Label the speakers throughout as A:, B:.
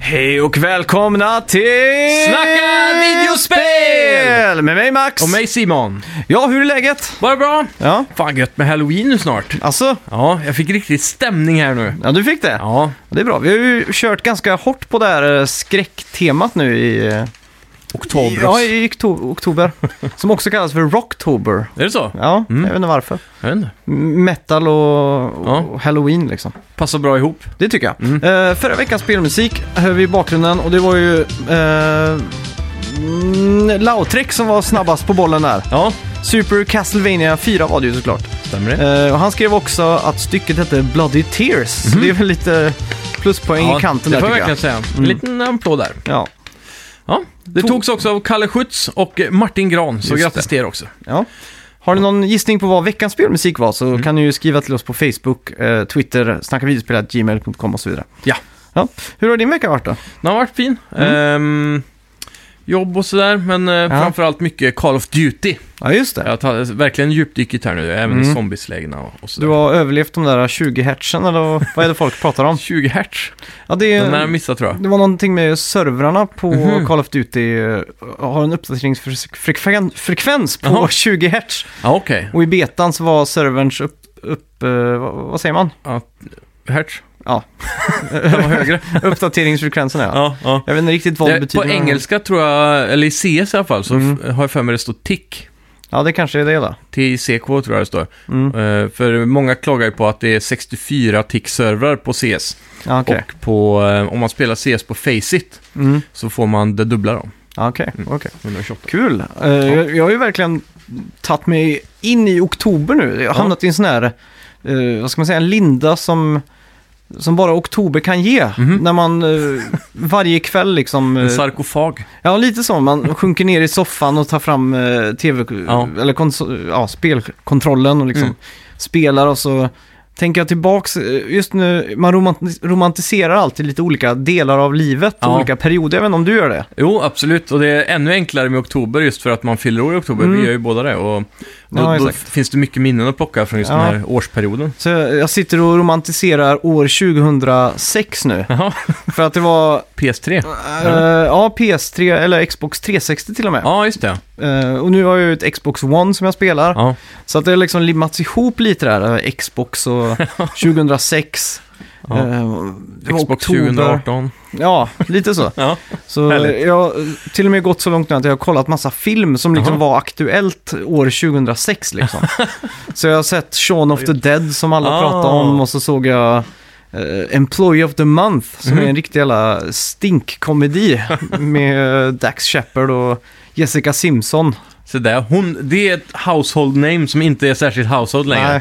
A: Hej och välkomna till...
B: Snacka videospel!
A: Med mig Max.
B: Och mig Simon.
A: Ja, hur är läget?
B: Bara bra.
A: Ja,
B: Fan gött med halloween nu snart.
A: alltså.
B: Ja, jag fick riktigt stämning här nu.
A: Ja, du fick det?
B: Ja,
A: Det är bra. Vi har ju kört ganska hårt på det här eh, skräcktemat nu i... eh,
B: oktober.
A: Ja, i okto- oktober. Som också kallas för Rocktober.
B: Är det så?
A: Ja,
B: Mm.
A: jag vet inte varför.
B: Jag vet inte.
A: M- Metal och, och
B: Ja.
A: och halloween liksom.
B: Passar bra ihop.
A: Det tycker jag.
B: Mm.
A: Eh, förra veckans spelmusik hör vi i bakgrunden och det var ju... Uh, Lautrec som var snabbast på bollen där.
B: Ja,
A: Super Castlevania 4 var det ju såklart.
B: stämmer det.
A: Eh, och han skrev också att stycket hette Bloody Tears. Så det är väl lite pluspoäng
B: ja,
A: i kanten
B: det
A: där
B: får jag
A: tycker jag.
B: verkligen säga. En liten eh, applåd där.
A: Ja.
B: Ja, det
A: Tog-
B: togs också av Kalle Schütz och Martin Gran, så
A: Just
B: grattis till er också.
A: ja. Har ni någon gissning på vad veckans spelmusik var så kan ni ju skriva till oss på Facebook, eh, Twitter, snackavideospelat, gmail.com och så vidare.
B: Ja.
A: ja. Hur har din vecka varit då?
B: Den har varit fin. Ehm, jobb och sådär, men eh, framförallt mycket Call of Duty.
A: Ja, just det.
B: Jag har verkligen djupdykit här nu, även i
A: Mm.
B: zombieslägena och, och
A: Du
B: sådär.
A: har överlevt de där 20 hertzen eller vad är det folk pratar om?
B: 20 hertz.
A: Ja, det,
B: Den har
A: är,
B: jag missat tror jag.
A: det var någonting med servrarna på
B: Mhm.
A: Call of Duty. eh, Har en uppdateringsfrekvens på
B: Jaha.
A: 20 hertz.
B: Ja, okej.
A: Och i betan så var serverns upp... upp eh, vad, vad säger man?
B: Hertz.
A: Ja.
B: Den var högre.
A: Uppdateringsfrekvensen, ja.
B: ja, ja.
A: Jag vet inte riktigt vad det
B: Det,
A: betyder.
B: på
A: men-
B: engelska tror jag, eller i CS i alla fall, så
A: Mm.
B: f- har jag för mig det står tick.
A: Ja, det kanske är det då.
B: TICK tror jag det står.
A: Mm.
B: Eh, för många klagar ju på att det är 64 tick-servrar på CS.
A: Ja, okej.
B: Och på, eh, om man spelar CS på Faceit
A: Mm.
B: så får man det dubbla då. Mm.
A: Ja, okej. okej.
B: 128.
A: Kul. Eh, jag, jag har ju verkligen tagit mig in i oktober nu. Jag har
B: Ja.
A: hamnat i en sån här, eh, vad ska man säga, en linda som, som bara oktober kan ge.
B: Mhm.
A: När man eh, varje kväll liksom...
B: En
A: eh,
B: sarkofag.
A: Ja, lite så. Man sjunker ner i soffan och tar fram eh, tv
B: Ja.
A: eller konso- ja, spelkontrollen och liksom
B: Mm.
A: spelar och så tänker jag tillbaks. eh, Just nu, man romanti- romantiserar alltid lite olika delar av livet och
B: Ja.
A: olika perioder. Även om du gör det.
B: Jo, absolut. Och det är ännu enklare med oktober just för att man fyller år i oktober.
A: Mm.
B: Vi gör ju båda det. Och då,
A: Ja,
B: då
A: exakt.
B: finns det mycket minnen att plocka från just
A: Ja.
B: den här årsperioden.
A: Så jag jag sitter och romantiserar år 2006 nu.
B: Jaha,
A: För att det var,
B: PS3.
A: eh, ja, PS3 eller Xbox 360 till och med.
B: Ja, just det.
A: Eh, och nu har jag ju ett Xbox One som jag spelar.
B: Ja.
A: Så att det har liksom limmats ihop lite där, eh, Xbox och 2006.
B: Ja.
A: eh, det var
B: Xbox
A: oktober.
B: 2018.
A: Ja, lite så.
B: Ja.
A: Så
B: Härligt.
A: jag har till och med gått så långt nu att jag har kollat massa film som liksom
B: Jaha.
A: var aktuellt år 2006 liksom. så jag har sett Shaun of the Dead som alla
B: Ah.
A: pratar om och så såg jag eh, Employee of the Month som
B: Mhm.
A: är en riktig jävla stinkkomedi med eh, Dax Shepard och Jessica Simpson.
B: Så där. Hon, det är ett household name som inte är särskilt household längre.
A: Nej,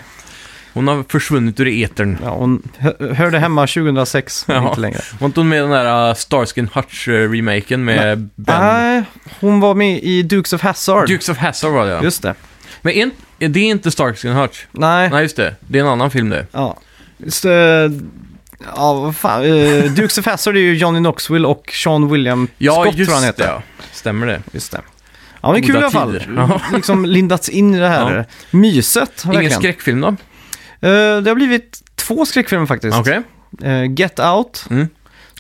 B: Hon har försvunnit ur etern.
A: ja, hon hö- hörde hemma 2006, men
B: Ja.
A: inte längre.
B: Var inte hon med i den där uh, Starsky Hutch-remaken med Ben?
A: Nej, hon var med i Dukes of Hazzard.
B: Dukes of Hazzard var det ja.
A: Just det.
B: Men en, är det är inte Starsky Hutch.
A: Nej,
B: Nej, just det. Det är en annan film det.
A: ja. Just, eh, ja, vad fan. eh, Dukes of Hazzard är ju Johnny Knoxville och Sean William
B: Ja,
A: Scott
B: just
A: tror han
B: det.
A: heter.
B: Ja. Stämmer det.
A: Just det. Ja, men
B: Goda
A: kul i alla fall.
B: tider. Ja.
A: Liksom lindats in i det här myset.
B: Ingen
A: verkligen.
B: skräckfilm då?
A: Eh, det har blivit två skräckfilmer faktiskt.
B: Okej.
A: Eh, Get Out.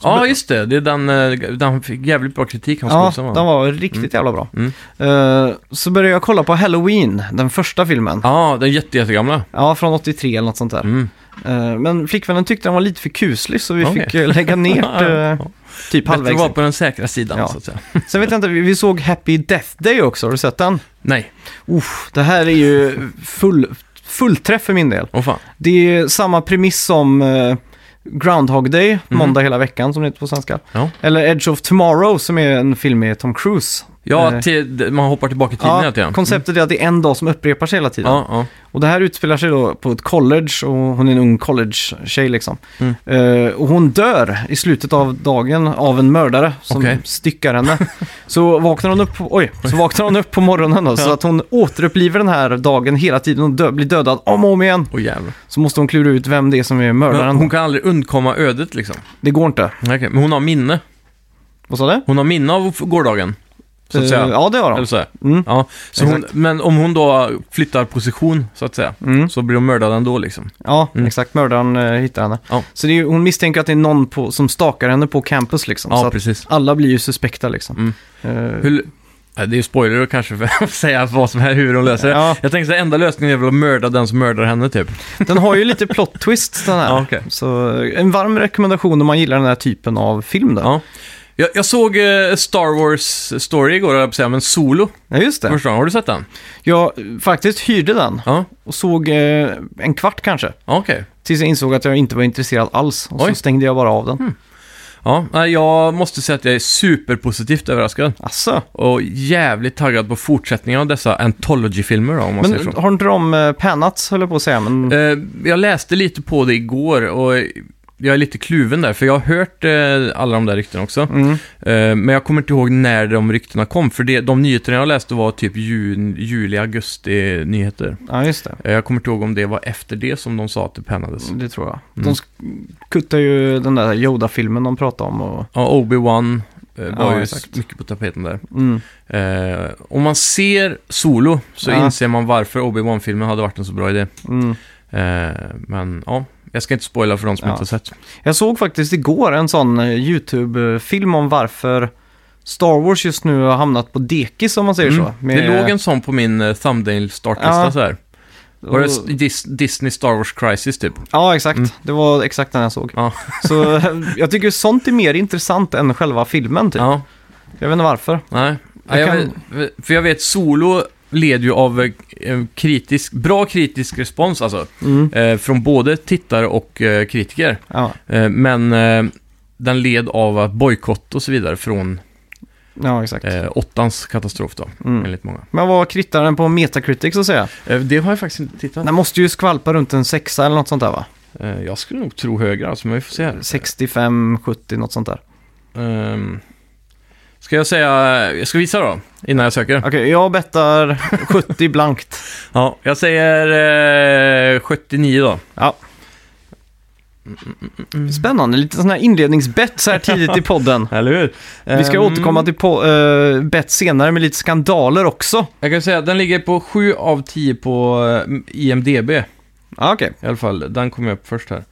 B: Ja, just det. Det är den, eh, den fick jävligt bra kritik, hans
A: Ja,
B: skådisen, va?
A: den var riktigt jävla bra.
B: Mm.
A: Eh, så började jag kolla på Halloween, den första filmen.
B: Ja, den jätte, jättegamla.
A: Ja, från 83 eller något sånt där.
B: Mm.
A: Eh, Men flickvännen tyckte den var lite för kuslig så vi
B: Okej.
A: fick eh, lägga ner det
B: Ja.
A: typ
B: Bättre att
A: halvvägs.
B: vara på den säkra sidan,
A: Ja.
B: så att säga.
A: Sen vet jag inte, vi vi såg Happy Death Day också, har du sett den?
B: Nej,
A: Uff, det här är ju full, fullträff för min del.
B: åh fan.
A: Det är samma premiss som eh, Groundhog Day, måndag hela veckan som det heter på svenska.
B: Ja.
A: Eller Edge of Tomorrow som är en film med Tom Cruise.
B: Ja,
A: Eh.
B: till, man hoppar tillbaka i tiden hela
A: Mm.
B: tiden.
A: konceptet är att det är en dag som upprepar sig hela tiden.
B: Ja, ja.
A: Och det här utspelar sig då på ett college och hon är en ung college-tjej liksom.
B: Mm.
A: Eh, och hon dör i slutet av dagen av en mördare som
B: Okej.
A: styckar henne. så vaknar hon upp, oj, så vaknar hon upp på morgonen då, så
B: Ja.
A: att hon återupplivar den här dagen hela tiden och dö- blir dödad om och om igen.
B: Åh jävlar.
A: Så måste hon klura ut vem det är som är mördaren.
B: Men hon kan aldrig undkomma ödet liksom.
A: Det går inte.
B: Okej, Men hon har minne.
A: Vad sa du?
B: Hon har minne av gårdagen. så att
A: Eh,
B: säga.
A: Ja, det har
B: Eller
A: de.
B: så här.
A: Mm.
B: Ja, så hon,
A: Exakt.
B: men om hon då flyttar position, så att säga,
A: Mm.
B: så blir hon mördad ändå liksom.
A: Ja,
B: Mm.
A: exakt. Mördaren eh, hittar henne.
B: Ja.
A: Så det är, ju- hon misstänker att det är någon på, som stakar henne på campus liksom. så
B: Ja,
A: att
B: precis.
A: alla blir ju suspekta liksom.
B: Mm.
A: Eh,
B: Hur, ja, det är ju spoiler att kanske för att säga vad som är, hur hon löser det.
A: Ja,
B: Jag tänker så här, enda lösningen är väl att mörda den som mördar henne typ.
A: den har ju lite plot twist den här.
B: Ja, okej.
A: Så eh, en varm rekommendation om man gillar den här typen av film då. Ja,
B: Ja. Jag, jag såg eh, Star Wars Story igår, höll jag på att säga, men Solo.
A: just det.
B: Första gången. Har du sett den?
A: Jag eh, faktiskt hyrde den
B: Ja,
A: och såg eh, en kvart kanske.
B: ja okej.
A: Tills jag insåg att jag inte var intresserad alls. Och
B: Oj.
A: så stängde jag bara av den.
B: Ja, nej, jag måste säga att jag är superpositivt överraskad.
A: Asså.
B: Och jävligt taggad på fortsättningen av dessa Anthology-filmer då, om man
A: Men
B: säger så.
A: har inte de eh, pannats, höll jag på att säga. Men...
B: Eh, jag läste lite på det igår och jag är lite kluven där, för jag har hört eh, alla de där ryktena också.
A: Mm.
B: Eh, men jag kommer inte ihåg när de ryktena kom, för det, de nyheterna jag läste var typ jun, juli, augusti nyheter.
A: Ja, just det.
B: Eh, jag kommer inte ihåg om det var efter det som de sa att det pennades.
A: Det tror jag.
B: Mm.
A: De kuttar ju den där Yoda-filmen de pratade om. Och...
B: Ja, Obi-Wan eh, var
A: Ja,
B: ju
A: exakt.
B: mycket på tapeten där.
A: Mm.
B: Eh, om man ser Solo så
A: Ja.
B: inser man varför Obi-Wan-filmen hade varit en så bra idé.
A: Mm.
B: Eh, men ja, jag ska inte spoila för de som
A: Ja.
B: inte har sett.
A: Jag såg faktiskt igår en sån eh, YouTube-film om varför Star Wars just nu har hamnat på dekis om man säger
B: Mm.
A: så. Med-
B: Det låg en sån på min eh, thumbnail-startlista
A: Ja.
B: så här.
A: och-
B: Var det s- Dis- Disney Star Wars Crisis typ?
A: Ja, exakt.
B: Mm.
A: Det var exakt den jag såg.
B: Ja.
A: Så eh, jag tycker sånt är mer intressant än själva filmen typ.
B: Ja,
A: Jag vet inte varför.
B: nej.
A: Jag
B: jag
A: kan-
B: vet, för jag vet, Solo led ju av eh, en kritisk, bra kritisk respons alltså.
A: Mm.
B: Eh, från både tittare och eh, kritiker.
A: Ja.
B: Eh, men eh, den led av att bojkott och så vidare från
A: ja, exakt.
B: eh, åttans katastrof då,
A: Mm.
B: enligt många.
A: Men vad kvittar den på Metacritic så att säga?
B: Eh, det har jag faktiskt inte tittat.
A: Den måste ju skvalpa runt en sexa eller något sånt där va?
B: Eh, jag skulle nog tro högre alltså, men vi får se. här.
A: 65, 70, något sånt där.
B: Ehm, ska jag säga, jag ska visa då, innan jag söker.
A: Okej, jag bettar 70 blankt.
B: Ja, jag säger eh, 79 då.
A: Ja. Spännande, lite sån här inledningsbett så här tidigt i podden.
B: Eller hur?
A: Vi ska
B: Ehm,
A: återkomma till po- eh, bett senare med lite skandaler också.
B: Jag kan säga att den ligger på 7 av 10 på eh, IMDB i
A: Ja, okej.
B: alla fall. Den kommer upp först här.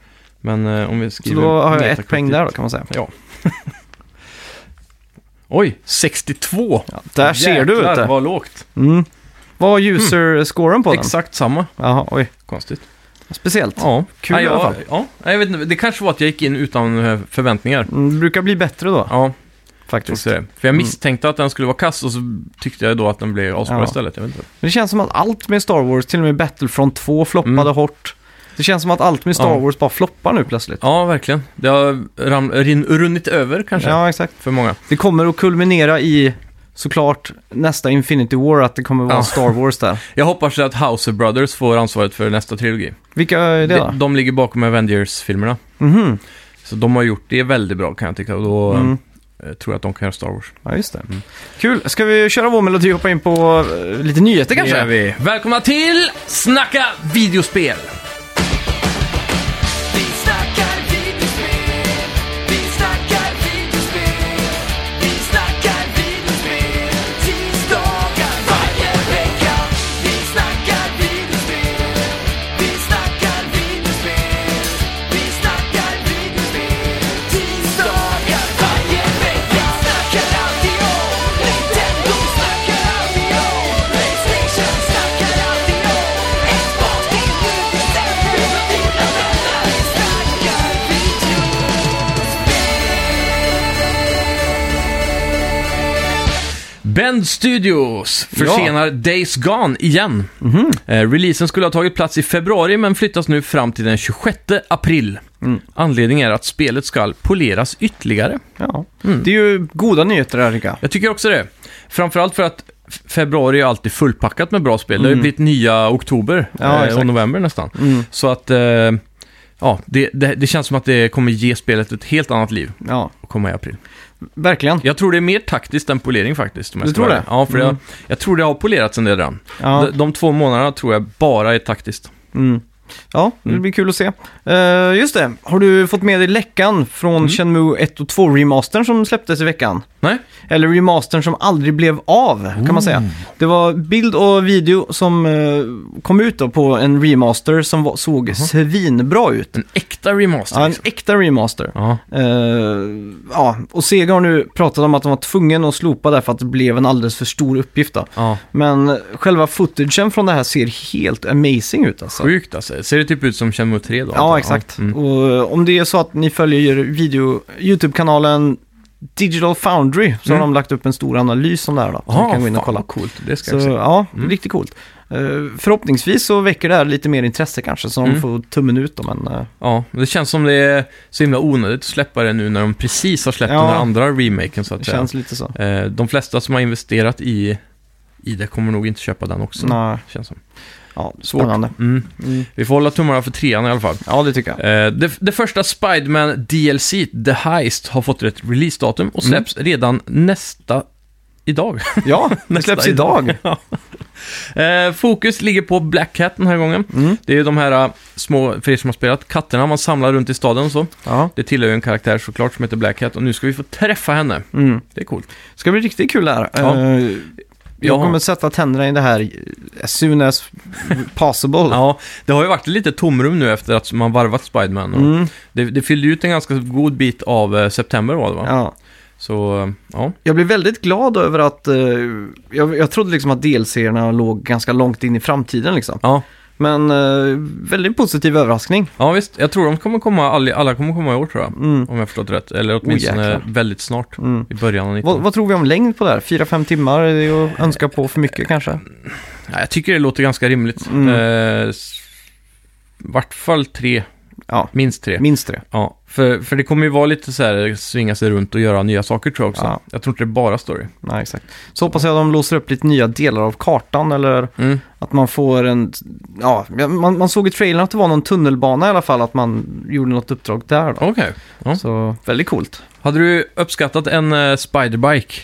B: Men eh, om vi
A: Så
B: skriver...
A: då har jag
B: Metacritic.
A: ett poäng där då kan man säga.
B: Oj, 62!
A: Ja, där ser du
B: Jäklar,
A: vet du.
B: vad lågt.
A: Mm. Vad var user-scoren på den?
B: Exakt samma.
A: Jaha, oj.
B: Konstigt.
A: Speciellt.
B: Ja,
A: Kul
B: Nej,
A: i alla
B: jag-
A: fall.
B: Ja, Nej, jag vet inte. Det kanske var att jag gick in utan eh, förväntningar.
A: Mm, det brukar bli bättre då,
B: Ja, tror
A: faktiskt.
B: jag det. För jag misstänkte att den skulle vara kass och så tyckte jag då att den blev asbra
A: Ja.
B: istället. Jag vet inte.
A: Men det känns som att allt med Star Wars, till och med Battlefront 2, floppade
B: Mm.
A: hårt. Det känns som att allt med Star
B: Ja.
A: Wars bara floppar nu plötsligt.
B: Ja, verkligen. Det har ram, rin, runnit över kanske,
A: Ja, exakt.
B: för många.
A: Det kommer att kulminera i, såklart, nästa Infinity War, att det kommer vara
B: Ja.
A: Star Wars där.
B: Jag hoppas att House of Brothers får ansvaret för nästa trilogi.
A: Vilka är det
B: De,
A: då?
B: de ligger bakom Avengers-filmerna.
A: Mhm.
B: Så de har gjort det väldigt bra kan jag tycka. Och då
A: Mm.
B: eh, tror jag att de kan göra Star Wars.
A: Ja, just det. Kul. Ska vi köra vår melodi och hoppa in på eh, lite nyheter kanske?
B: gör vi. Välkomna till Snacka videospel!
C: Vi snackar videospel, vi snackar videospel, vi snackar videospel, tisdagar varje vecka. Vi snackar videospel, vi snackar videospel, vi snackar videospel, tisdagar varje vecka. Snackar alltid om Nintendo, snackar alltid om Playstation, snackar alltid om Xbox, till nu bestämmer vi vad dina vänner snackar video.
B: Bend Studios försenar Days Gone igen.
A: Mhm.
B: Eh, releasen skulle ha tagit plats i februari men flyttas nu fram till den 26 april.
A: Mm.
B: Anledningen är att spelet ska poleras ytterligare.
A: Ja.
B: Mm.
A: Det är ju goda nyheter där, Rika.
B: Jag tycker också det. Framförallt för att f- februari är alltid fullpackat med bra spel. Det har ju blivit nya oktober
A: Mm. Ja,
B: eh, och
A: exakt.
B: november nästan.
A: Mm.
B: Så att eh, ja, det, det, det känns som att det kommer ge spelet ett helt annat liv
A: Ja,
B: att komma i april.
A: verkligen.
B: Jag tror det är mer taktiskt än polering faktiskt. om jag
A: Du
B: ska
A: tror
B: vara
A: det?
B: ärlig. Ja, för jag,
A: Mm.
B: jag tror det har polerats en del redan.
A: Ja.
B: De, de två månaderna tror jag bara är taktiskt.
A: Mm. Ja, det blir kul att se. Eh, just det, har du fått med dig läckan från
B: Mm.
A: Shenmue 1 och 2-remastern som släpptes i veckan?
B: Nej?
A: Eller remastern som aldrig blev av, kan man säga. Det var bild och video som eh, kom ut då på en remaster som var, såg svinbra ut.
B: En äkta remaster?
A: Ja, en
B: liksom.
A: äkta remaster.
B: ja.
A: Eh, ja, och Sega har nu pratat om att de var tvungen att slopa därför att det blev en alldeles för stor uppgift. Då.
B: ja.
A: Men själva footagen från det här ser helt amazing ut alltså.
B: Sjukt alltså. Ser det typ ut som Shenmue 3 då?
A: Ja, exakt.
B: Mm.
A: Och eh, om det är så att ni följer video, YouTube-kanalen Digital Foundry så
B: Mm.
A: har de lagt upp en stor analys om det här då. Så
B: Ja,
A: ni kan gå in och
B: Ah, fan,
A: kolla.
B: vad coolt. Mm. Det ska
A: Så,
B: jag se.
A: ja, riktigt coolt. Eh, förhoppningsvis så väcker det här lite mer intresse kanske, så de
B: Mm.
A: får tummen ut då, men... eh,
B: Ja, det känns som det är så himla onödigt att släppa det nu när de precis har släppt
A: Ja.
B: den här andra remaken så att
A: det
B: säga.
A: känns lite så.
B: Eh, De flesta som har investerat i, i det kommer nog inte köpa den också.
A: Nej,
B: Känns som.
A: ja,
B: Svårt.
A: spännande.
B: Mm.
A: Mm.
B: Vi får hålla tummarna för trean i alla fall.
A: Ja, det tycker jag.
B: Eh, Det, det första Spiderman DLC, The Heist, har fått ett releasedatum och släpps
A: Mm.
B: redan nästa idag.
A: Ja, det
B: Nästa
A: släpps idag.
B: Ja. Eh, Fokus ligger på Black Cat den här gången.
A: Mm.
B: Det är ju de här eh, små, för er som har spelat, katterna man samlar runt i staden och så.
A: Ja.
B: Det tillhör ju en karaktär såklart som heter Black Cat och nu ska vi få träffa henne.
A: Mm.
B: Det är coolt.
A: ska bli riktigt kul det här.
B: Ja.
A: Eh, jag
B: Ja.
A: kommer sätta tänderna i det här as soon as possible.
B: Ja, det har ju varit lite tomrum nu efter att man varvat Spiderman. och
A: Mm.
B: Det, det fyllde ut en ganska god bit av eh, september var det va?
A: Ja.
B: Så, eh, ja.
A: Jag blev väldigt glad över att, eh, jag, jag trodde liksom att delserierna låg ganska långt in i framtiden liksom.
B: ja.
A: Men eh, väldigt positiv överraskning.
B: Ja, visst. Jag tror de kommer komma, alla, alla kommer komma i år tror jag.
A: Mm.
B: Om jag förstått rätt. Eller åtminstone
A: jäklar.
B: väldigt snart.
A: Mm.
B: I början av
A: Vad,
B: 19.
A: vad tror vi om längd på det här? 4-5 timmar är det ju att önska på för mycket kanske?
B: Ja, jag tycker det låter ganska rimligt.
A: Mm.
B: Eh, s- vart fall tre.
A: Ja.
B: Minst tre.
A: Minst det.
B: Ja, för, för det kommer ju vara lite så här svinga sig runt och göra nya saker tror jag också.
A: Ja.
B: Jag tror inte det är bara story.
A: Nej, exakt. Så hoppas jag att de låser upp lite nya delar av kartan eller
B: Mm.
A: att man får en... Ja, man, man såg i trailern att det var någon tunnelbana i alla fall, att man gjorde något uppdrag där då.
B: Okej. Ja.
A: Så väldigt coolt.
B: Hade du uppskattat en eh, spiderbike?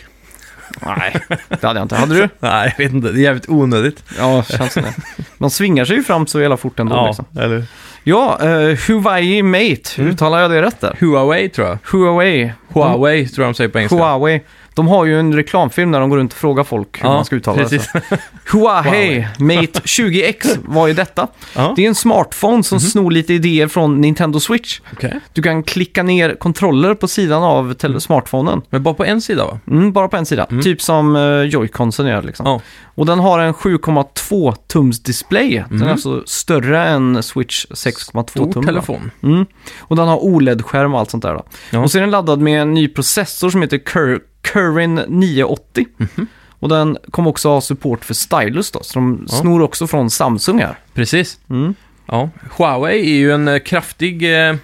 A: Nej, det hade jag inte. Hade du?
B: Nej, jag vet inte. Det är jävligt onödigt.
A: Ja, känns det. Man svingar sig ju fram så jävla fort ändå. Liksom.
B: eller?
A: Ja, eh, Huawei Mate,
B: Mm.
A: uttalar jag det rätt där?
B: Huawei tror jag.
A: Huawei.
B: Huawei tror jag de säger på engelska.
A: Huawei. De har ju en reklamfilm där de går runt och frågar folk hur
B: Ja,
A: man ska uttala
B: precis.
A: det. så. Huawei Mate 20X, vad är detta?
B: Ja. Mhm.
A: Det är en smartphone som snor lite idéer från Nintendo Switch.
B: Okej.
A: Du kan klicka ner kontroller på sidan av tele-
B: Mm.
A: smartphonen.
B: Men bara på en sida va?
A: Mm, bara på en sida, typ som uh, Joy-Consen gör liksom.
B: Ja.
A: Och den har en 7,2 tums display. Den är alltså större än Switch 6,2
B: Mm. Stor
A: tum. då.
B: Oh, telefon.
A: Mm. Och den har OLED-skärm och allt sånt där då.
B: Ja.
A: Och så är den laddad med en ny processor som heter Cur- Curin 980.
B: Mhm.
A: Och den kommer också ha support för stylus då, så de
B: Ja.
A: snor också från Samsung här.
B: Precis.
A: Mm.
B: Ja. Huawei är ju en eh, kraftig eh,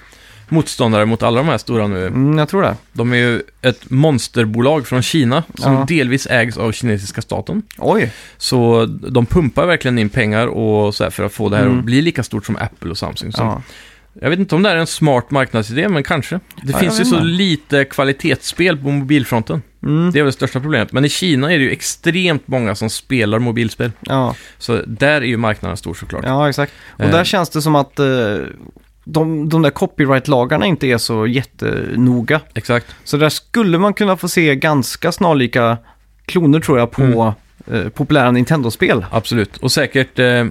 B: motståndare mot alla de här stora nu.
A: Mm, jag tror det.
B: De är ju ett monsterbolag från Kina som
A: Ja.
B: delvis ägs av kinesiska staten.
A: Oj.
B: Så de pumpar verkligen in pengar och så här för att få det här
A: Mm.
B: att bli lika stort som Apple och Samsung. Så
A: Ja.
B: Jag vet inte om det här är en smart marknadsidé, men kanske. Det
A: Ja,
B: finns
A: jag
B: ju
A: vet
B: så
A: inte.
B: lite kvalitetsspel på mobilfronten.
A: Mm.
B: Det är väl det största problemet. Men i Kina är det ju extremt många som spelar mobilspel.
A: Ja.
B: Så där är ju marknaden stor såklart.
A: ja, exakt. Och
B: Eh.
A: där känns det som att eh, de, de där copyright-lagarna inte är så jättenoga.
B: Exakt.
A: Så där skulle man kunna få se ganska snarlika kloner tror jag på
B: Mm.
A: eh, populära Nintendo-spel.
B: Absolut. Och säkert eh,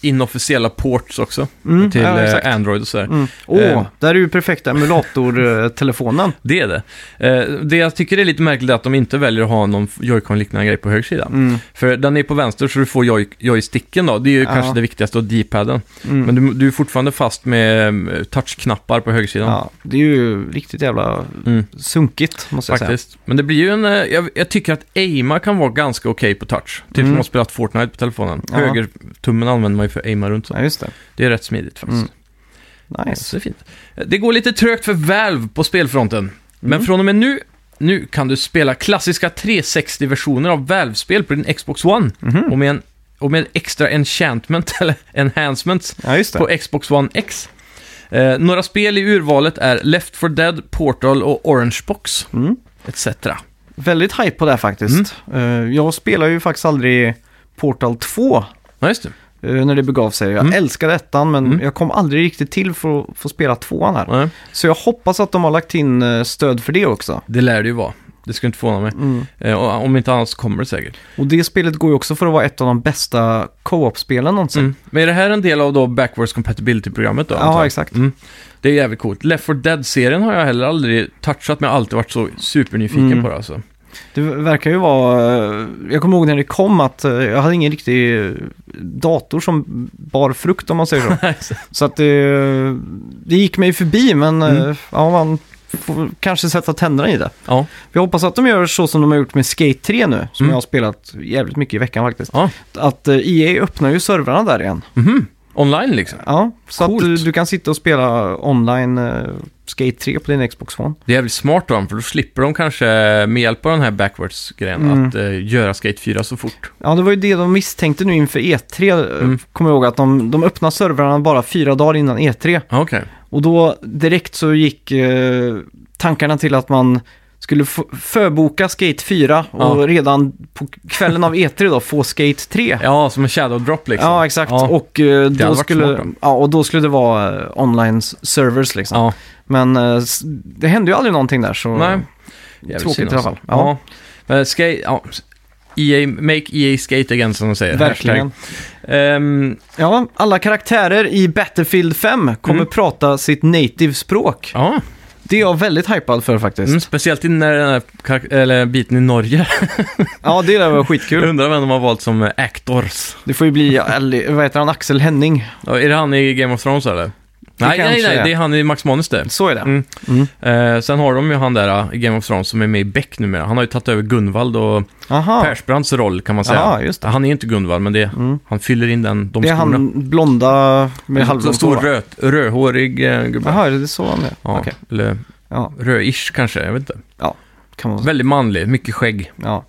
B: inofficiella ports också.
A: Mm,
B: till
A: ja,
B: eh,
A: exakt.
B: Android och sådär.
A: Mm. Åh,
B: Eh.
A: där är ju perfekta emulatortelefonen.
B: Det är det. Eh, det jag tycker är lite märkligt är att de inte väljer att ha någon Joy-Con-liknande grej på höger sida.
A: Mm.
B: För den är på vänster så du får joy- joysticken då. Det är ju
A: Ja.
B: kanske det viktigaste och D-paden.
A: Mm.
B: Men du, du är fortfarande fast med eh, touchknappar på högersidan.
A: ja, det är ju riktigt jävla
B: Mm.
A: sunkigt, måste jag säga.
B: Faktiskt. Men det blir ju en... eh, Jag, jag tycker att aima kan vara ganska okej på touch. Typ
A: Mm.
B: som att spela Fortnite på telefonen.
A: Ja.
B: Högertummen använder man ju för att aima runt. Så.
A: Ja, just det.
B: Det är rätt smidigt faktiskt.
A: Mm. Nice.
B: Så det är fint. Det går lite trögt för Valve på spelfronten. Men
A: Mm.
B: från och med nu, nu kan du spela klassiska 360-versioner av Valve-spel på din Xbox One.
A: Mm. Mhm.
B: Och, med en, och med extra enchantment, eller enhancements,
A: Ja, just det.
B: på Xbox One X. Eh, några spel i urvalet är Left 4 Dead, Portal och Orange Box,
A: Mm.
B: etc.
A: Väldigt
B: Mm.
A: hype på det här faktiskt. Eh, jag spelar ju faktiskt aldrig Portal 2.
B: Ja, just det.
A: eh, när det begav sig. Jag
B: Mm.
A: älskade ettan men jag kom aldrig riktigt till för att få spela tvåan här.
B: Nej.
A: Så jag hoppas att de har lagt in eh, stöd för det också.
B: Det lär det ju vara. Det skulle inte förvåna mig. Eh, och om inte annars kommer det säkert.
A: Och det spelet går ju också för att vara ett av de bästa co-op-spelen någonsin.
B: Mm. Men är det här en del av då Backwards Compatibility-programmet då?
A: Ja,
B: antar jag?
A: exakt.
B: Mm. Det är jävligt coolt. Left 4 Dead-serien har jag heller aldrig touchat, men jag har alltid varit så supernyfiken
A: Mm.
B: på det alltså.
A: Det verkar ju vara, eh, jag kommer ihåg när det kom att eh, jag hade ingen riktig eh, dator som bar frukt om man säger så. så att det, det gick mig förbi men
B: Mm.
A: eh, ja, man får kanske sätta tänderna i det.
B: Ja.
A: Jag hoppas att de gör så som de har gjort med Skate 3 nu, som
B: Mm.
A: jag har spelat jävligt mycket i veckan faktiskt.
B: Ja.
A: Att eh, EA öppnar ju servrarna där igen.
B: Mhm. Online liksom.
A: Ja, så att
B: Coolt.
A: du, du kan sitta och spela online eh, Skate 3 på din Xbox One.
B: Det är jävligt smart av dem, för då slipper de kanske med hjälp av den här backwards-grejen
A: Mm.
B: att eh, göra Skate 4 så fort.
A: Ja, det var ju det de misstänkte nu inför E3. eh,
B: Mm.
A: Kommer jag ihåg att de, de öppnade servrarna bara fyra dagar innan E3.
B: Ja, Okej.
A: Och då direkt så gick eh, tankarna till att man skulle f- förboka Skate 4 och
B: Ja.
A: redan på kvällen av E3 då få Skate 3.
B: Ja, som en shadow drop liksom.
A: Ja, exakt.
B: Ja.
A: Och, eh, då
B: varit
A: skulle,
B: smart då.
A: ja, och då skulle det vara eh, online servers liksom.
B: Ja.
A: Men eh, s- det hände ju aldrig någonting där så...
B: Nej.
A: Tråkigt
B: synd
A: i alla fall.
B: alltså. Ja. Men skate, ja. EA, make EA skate again som de säger.
A: Verkligen.
B: Hashtag. Ehm,
A: Ja, alla karaktärer i Battlefield 5 kommer
B: Mm.
A: prata sitt native språk.
B: ja,
A: Det är jag väldigt hypad för faktiskt.
B: mm, speciellt i den där, den där karak- eller biten i Norge.
A: Ja, det där var
B: Jag
A: skitkul.
B: undrar vem de har valt som eh, actors.
A: Det får ju bli, eller, vad heter han, Axel Henning.
B: Ja, Är det han i Game of Thrones eller? Nej, nej,
A: kanske
B: nej,
A: är.
B: det är han i Max Manus det.
A: Så är det.
B: Mm. Eh, sen har de ju han där eh, i Game of Thrones som är med i Beck numera. Han har ju tagit över Gunvald och
A: Aha.
B: Persbrandts roll kan man säga.
A: Ah. Ja, just det. Mm.
B: Han är ju inte Gunvald, men det, han fyller in den, de
A: Det är
B: skorna.
A: han blonda med
B: En
A: halvblont hår.
B: stor
A: va?
B: röd, rödhårig eh, gubbe.
A: Jaha, är det så han är?
B: Ja,
A: Okej.
B: eller
A: Ja,
B: rödish kanske, jag vet inte.
A: kan man säga.
B: Väldigt manlig, mycket skägg.
A: Ja.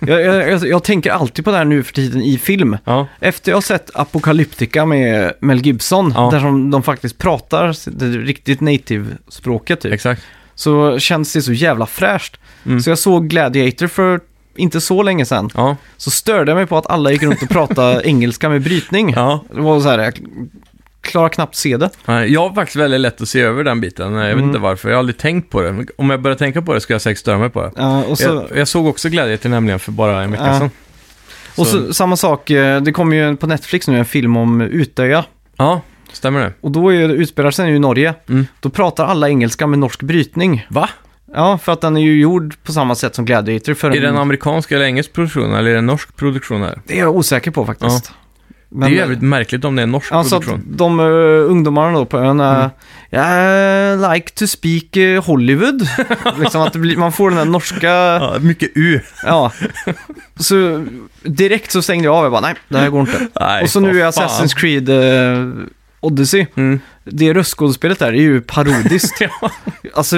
A: Jag, jag, jag, jag tänker alltid på det här nu för tiden i film.
B: Ja,
A: Efter jag har sett Apocalyptica med Mel Gibson,
B: Ja.
A: där som de faktiskt pratar det riktigt native-språket typ,
B: exakt.
A: så känns det så jävla fräscht.
B: Mm.
A: Så jag såg Gladiator för inte så länge sedan.
B: Ja,
A: Så störde jag mig på att alla gick runt och pratade engelska med brytning.
B: ja.
A: Det var så här, jag klarar knappt se det.
B: Nej, Jag har faktiskt väldigt lätt att se över den biten. Jag vet
A: Mm.
B: inte varför, jag har aldrig tänkt på det. Om jag börjar tänka på det skulle jag säkert störa mig på det.
A: Ja, och så,
B: Jag, jag såg också Gladiator nämligen för bara en vecka
A: Ja.
B: sedan.
A: och så, samma sak, eh, det kommer ju en- på Netflix nu en film om Utöja.
B: Ja, stämmer det.
A: Och då är, utspelar sig den ju i Norge.
B: Mm.
A: Då pratar alla engelska med norsk brytning.
B: Va?
A: Ja, för att den är ju gjord på samma sätt som Gladiator. För
B: Är det en amerikansk eller engelsk produktion eller är det en norsk produktion här?
A: det är jag osäker på faktiskt. Men,
B: det är ju jävligt märkligt om det är en norsk
A: Ja, så att
B: produktion.
A: de eh, ungdomarna då på ön
B: Mm.
A: är... "I like to speak eh, Hollywood. liksom att det blir, man får den där norska...
B: Ja, mycket U.
A: Ja. Så direkt så stängde jag av. Jag bara, nej, det här går inte.
B: Nej,
A: och så nu
B: vad
A: är
B: fan.
A: Assassin's Creed eh, Odyssey.
B: Mm.
A: Det röstskådespelet där är ju parodiskt.
B: Ja.
A: alltså,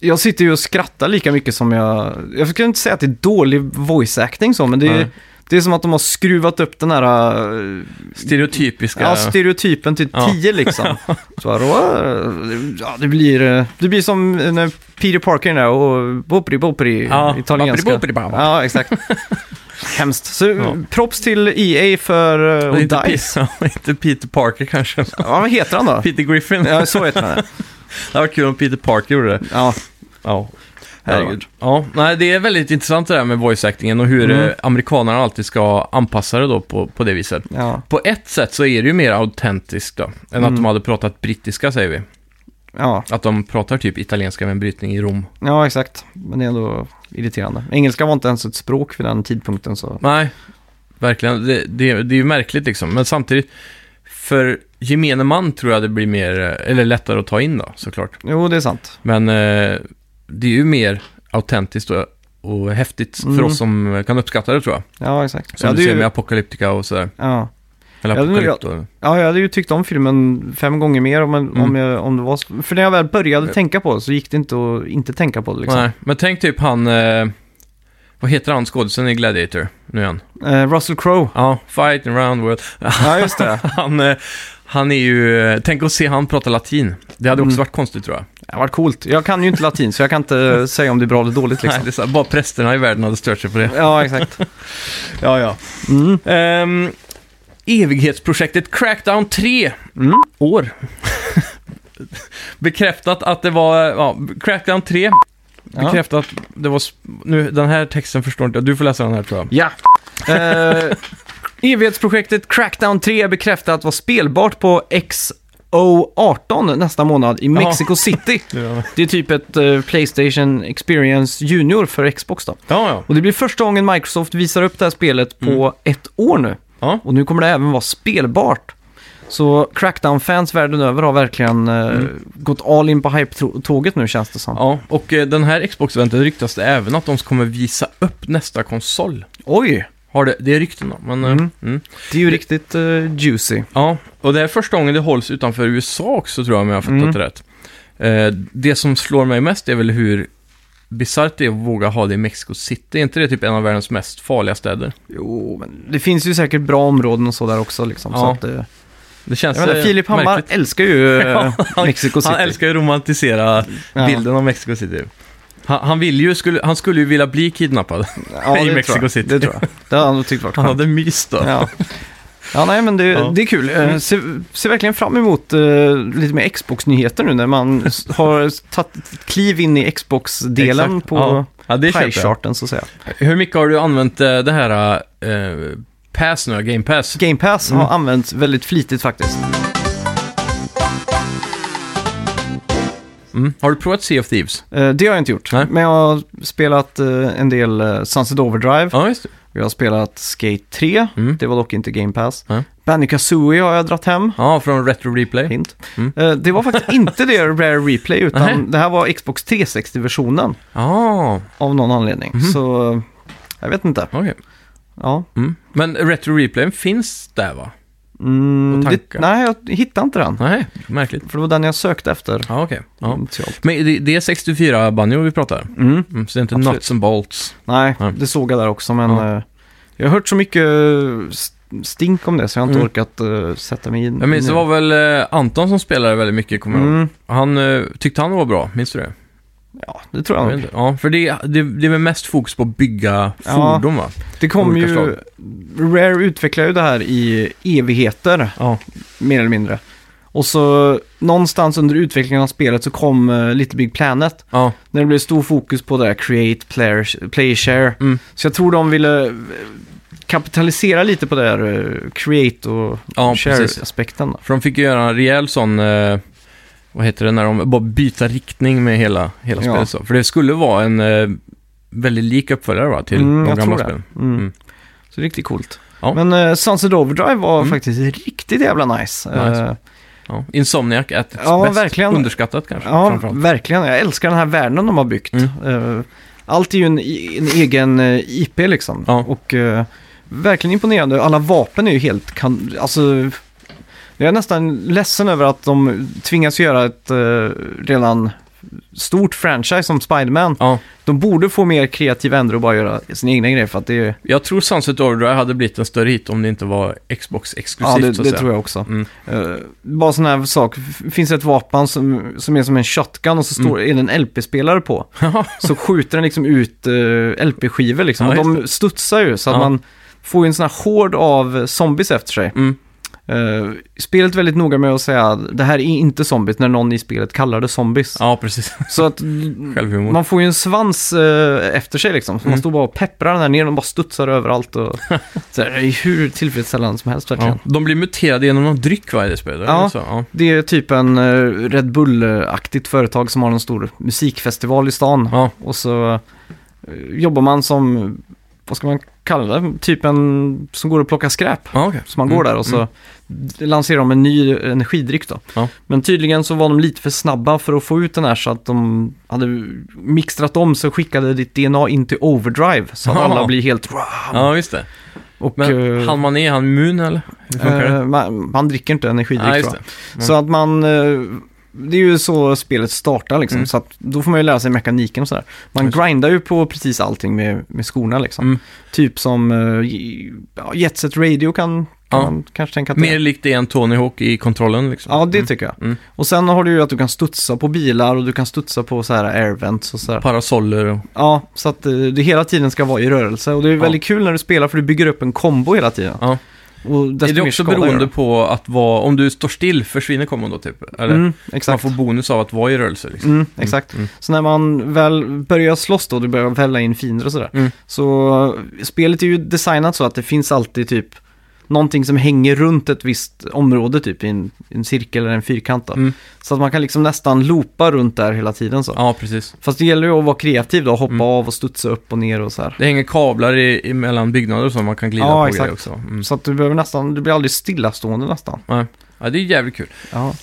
A: jag sitter ju och skrattar lika mycket som jag... Jag skulle inte säga att det är dålig voice acting så, men det är,
B: Nej.
A: det är som att de har skruvat upp den här eh,
B: Stereotypiska.
A: ja, stereotypen till
B: Eh, Ja.
A: 10 liksom. Så här, "Åh, ja, det, blir, eh, det blir som när Peter Parker är där och bopri bopri
B: Ja,
A: italienska.
B: bopri, bopri, bopri.
A: Ja, exakt. Hemskt. Så
B: Ja.
A: props till EA för eh, och
B: Och inte,
A: DICE.
B: Pe- ja, inte Peter Parker kanske.
A: Ja, vad heter han då?
B: Peter Griffin.
A: Ja, så heter han.
B: Det var kul om Peter Parker gjorde det.
A: Ja,
B: Ja.
A: herregud.
B: Ja, nej, det är väldigt intressant det där med voice-actingen och hur
A: Mm.
B: eh, amerikanerna alltid ska anpassa det då på, på det viset.
A: Ja,
B: På ett sätt så är det ju mer autentiskt då, än
A: Mm.
B: att de hade pratat brittiska säger vi.
A: ja,
B: Att de pratar typ italienska med en brytning i Rom.
A: ja, exakt. Men det är ändå irriterande. Engelska var inte ens ett språk vid den tidpunkten så...
B: Nej, verkligen. Det, det, det är ju märkligt liksom. Men samtidigt, för gemene man tror jag det blir mer, eh, eller lättare att ta in då, såklart.
A: Jo, det är sant.
B: Men eh, det är ju mer autentiskt och, och häftigt
A: Mm.
B: för oss som eh, kan uppskatta det tror jag.
A: Ja, exakt.
B: Som
A: Ja,
B: du
A: det är
B: ser
A: ju-
B: med Apocalyptica och sådär.
A: Ja.
B: Eller liksom.
A: Ja, det-
B: Apocalypto. Ja,
A: Ja, jag hade ju tyckt om filmen fem gånger mer om, om, jag, om det var så. För när jag väl började tänka på det så gick det inte att inte tänka på det liksom.
B: Nej, men tänk typ han... Eh, vad heter han skådisen i Gladiator? Nu igen.
A: Eh, Russell Crowe.
B: Ja, Fight around world.
A: Ja, just det.
B: han, eh, han är ju... eh, Tänk att se han prata latin. Det hade
A: Mm.
B: också varit konstigt tror jag.
A: Det var coolt. Jag kan ju inte latin så jag kan inte säga om det är bra eller dåligt
B: Nej,
A: liksom.
B: det är så här, bara prästerna i världen hade stört sig på det.
A: Ja, exakt.
B: Ja, ja.
A: Mm.
B: Ehm, evighetsprojektet Crackdown 3 år. bekräftat att det var, ja, Crackdown 3 bekräftat att det var, s- nu den här texten förstår inte jag, du får läsa den här tror jag.
A: Ja. Eh, evighetsprojektet Crackdown 3 är bekräftat att vara spelbart på XO18 nästa månad i Mexico City.
B: Ja,
A: Det är typ ett eh, Playstation Experience Junior för Xbox då.
B: ja.
A: Och det blir första gången Microsoft visar upp det här spelet på ett år nu.
B: Mm. ja.
A: Och nu kommer det även vara spelbart. Så Crackdown-fans världen över har verkligen eh, gått all in på hype-tåget nu känns det som.
B: Mm. Ja, och eh, den här Xbox-eventet ryktas det även att de kommer visa upp nästa konsol.
A: Oj,
B: Har det, det är rykten om, men... eh,
A: Mm.
B: Mm.
A: det är ju riktigt eh, juicy.
B: Ja, och det är första gången det hålls utanför USA också tror jag, om jag har fattat
A: Mm.
B: det rätt. Eh, det som slår mig mest är väl hur bisarrt det är att våga ha det i Mexico City. Är inte det typ en av världens mest farliga städer?
A: Jo, men det finns ju säkert bra områden och så där också liksom. Så
B: Ja.
A: att, eh,
B: Det känns
A: jag menar,
B: eh,
A: Filip Hammar
B: märkligt.
A: älskar ju eh,
B: han-
A: Mexico City.
B: Han älskar ju att romantisera
A: Ja.
B: bilden av Mexico City. Han, han, vill ju, skulle, han skulle ju vilja bli kidnappad.
A: ja,
B: i
A: det
B: Mexico
A: tror jag.
B: City.
A: Det tror jag. Det har han nog tyckt varit
B: Han
A: skönt.
B: hade mys då.
A: Ja. ja, nej men det,
B: Ja. Mm.
A: det är kul. Eh, Se, ser verkligen fram emot eh, lite mer Xbox-nyheter nu när man s- har tagit ett kliv in i Xbox-delen
B: Exakt.
A: på
B: Ja. Ja, det köper jag.
A: pie-charten så att säga.
B: Hur mycket har du använt eh, det här eh, Pass nu, Game Pass?
A: Game Pass har använts väldigt flitigt faktiskt.
B: Mm. Har du provat Sea of Thieves?
A: Eh, det har jag inte gjort,
B: Nej.
A: men jag har spelat eh, en del eh, Sunset Overdrive.
B: Ja, just det.
A: Jag har spelat Skate 3,
B: Mm.
A: det var dock inte Game Pass.
B: Nej.
A: Banjo-Kazooie har jag dratt hem.
B: Ja, från Retro Replay.
A: Hint.
B: Mm.
A: Eh, Det var faktiskt inte det Rare Replay, utan
B: Nej.
A: det här var Xbox 360-versionen.
B: Ja,
A: Av någon anledning.
B: Mhm.
A: Så eh, jag vet inte.
B: okej.
A: Ja.
B: Mm. Men Retro Replayen finns där va?
A: Mm,
B: Och
A: det,
B: tankar.
A: nej, jag hittade inte den.
B: Nej, märkligt.
A: För det var den jag sökte efter.
B: Ja, okej. Ja.
A: initialt.
B: Men det, det är 64 banjo vi pratar.
A: Mm.
B: Mm, så det är inte
A: Absolut. Mm.
B: Nuts and Bolts.
A: Nej,
B: Nej.
A: det såg jag där också, men
B: Ja.
A: eh, jag har hört så mycket eh, st- stink om det så jag har inte
B: Mm.
A: orkat eh, sätta mig in.
B: Jag minns, det var väl eh, Anton som spelade väldigt mycket, kommer jag ihåg.
A: Mm.
B: Han eh, tyckte han var bra, minns du det?
A: Ja, det tror jag
B: Jag
A: nog.
B: vet inte. Ja, för det, det, det är väl mest fokus på att bygga
A: Ja.
B: fordon va?
A: Det kom
B: Olika
A: ju...
B: slag.
A: Rare utvecklar ju det här i evigheter,
B: Ja.
A: mer eller mindre. Och så någonstans under utvecklingen av spelet så kom eh, Little Big Planet.
B: Ja,
A: När det blev stor fokus på det här create, player, play share.
B: Mm.
A: Så jag tror de ville eh, kapitalisera lite på det här eh, create och
B: ja precis.
A: share-aspekten. då.
B: För de fick ju göra en rejäl sån, eh, vad heter det, när de bara byta riktning med hela, hela
A: Ja.
B: spelet. Så. För det skulle vara en eh, väldigt lik uppföljare va, till
A: Mm,
B: de
A: jag
B: gamla
A: tror det.
B: spelen.
A: Mm.
B: Mm.
A: Så det är riktigt coolt.
B: Ja.
A: Men eh, Sunset Overdrive var
B: Mm.
A: faktiskt riktigt jävla nice.
B: Nice.
A: Eh,
B: Ja. Insomniac at its
A: Ja,
B: best.
A: verkligen.
B: Underskattat kanske,
A: ja,
B: framförallt. Mm.
A: verkligen. Jag älskar den här världen de har byggt. Eh, allt är ju en, i- en egen eh, IP liksom.
B: Ja.
A: Och eh, verkligen imponerande. Alla vapen är ju helt... Kan, alltså, jag är nästan ledsen över att de tvingas göra ett eh, redan stort franchise som Spiderman.
B: Ja,
A: De borde få mer kreativ ändå och bara göra sin egna grej för att det är...
B: jag tror Sunset Overdrive hade blivit en större hit om det inte var Xbox-exklusivt.
A: Ja, det,
B: så
A: det
B: att säga.
A: tror jag också.
B: Mm.
A: Eh, bara sån här sak, F- finns det ett vapen som, som är som en shotgun och så står,
B: Mm.
A: är det en LP-spelare på.
B: Ja.
A: så skjuter den liksom ut eh, LP-skivor liksom.
B: Ja,
A: och de studsar ju så att
B: Ja.
A: man får ju en sån här hård av zombies efter sig.
B: Mm.
A: Eh, spelet är väldigt noga med att säga det här är inte zombies när någon i spelet kallar det zombies.
B: ja, precis.
A: Så att
B: Självhumor.
A: man får ju en svans eh, efter sig liksom. Så Man
B: Mm.
A: står bara och pepprar den här ner, de bara studsar överallt och så här, det är hur tillfredsställande som helst verkligen.
B: Ja. De blir muterade genom någon dryck va, i det spelet?
A: Ja.
B: eller Så, ja.
A: Det är typ en eh, Red Bull-aktigt företag som har en stor musikfestival i stan.
B: Ja.
A: Och så eh, jobbar man som, vad ska man kalla det, typ en som går och plockar skräp.
B: Ja, okej.
A: Så man
B: Mm,
A: går där och så lanserar de en ny energidryck då.
B: Ja.
A: Men tydligen så var de lite för snabba för att få ut den här så att de hade mixtrat om så skickade ditt DNA in till overdrive. Så att
B: Ja.
A: alla blir helt...
B: Ja, just det.
A: Och,
B: Men
A: eh,
B: hann man är han immun eller? Hur funkar det?
A: eh, man, man dricker inte energidryck
B: Ja,
A: tror
B: just
A: jag.
B: det. Mm.
A: Så att man, eh, det är ju så spelet startar liksom.
B: Mm.
A: Så att då får man ju lära sig mekaniken och sådär. Man
B: Just.
A: grindar ju på precis allting med, med skorna liksom.
B: Mm.
A: Typ som eh, i- ja, Jet Set Radio kan, kan
B: Ja.
A: man kanske tänka att det
B: Mer
A: är.
B: likt det än Tony Hawk i kontrollen liksom.
A: Ja, det tycker jag.
B: Mm.
A: Och sen har du ju att du kan studsa på bilar och du kan studsa på så här airvents och sådär.
B: Parasoller och...
A: Ja, så att eh, det hela tiden ska vara i rörelse. Och det är väldigt kul när du spelar för du bygger upp en kombo hela tiden.
B: Ja.
A: Och desto
B: Är det
A: mer
B: också
A: skada gör
B: beroende
A: de.
B: på att vara, om du står still försvinner kommon då typ? Eller?
A: Mm,
B: Man
A: exakt.
B: får bonus av att vara i rörelse liksom.
A: Mm, exakt.
B: Mm, mm.
A: Så när man väl börjar slåss då, du börjar välla in fiender och sådär.
B: Mm.
A: Så spelet är ju designat så att det finns alltid typ någonting som hänger runt ett visst område, typ i en, en cirkel eller en fyrkant. Då.
B: Mm.
A: Så att man kan liksom nästan loopa runt där hela tiden. Så.
B: Ja, precis.
A: Fast det gäller ju att vara kreativ då, hoppa
B: Mm.
A: av och studsa upp och ner och så här.
B: Det hänger kablar i, i mellan byggnader och så man kan glida
A: Ja,
B: på
A: exakt.
B: grejer också. Mm.
A: Så att du behöver nästan, du blir aldrig stillastående nästan.
B: Nej. Ja, det är jävligt kul.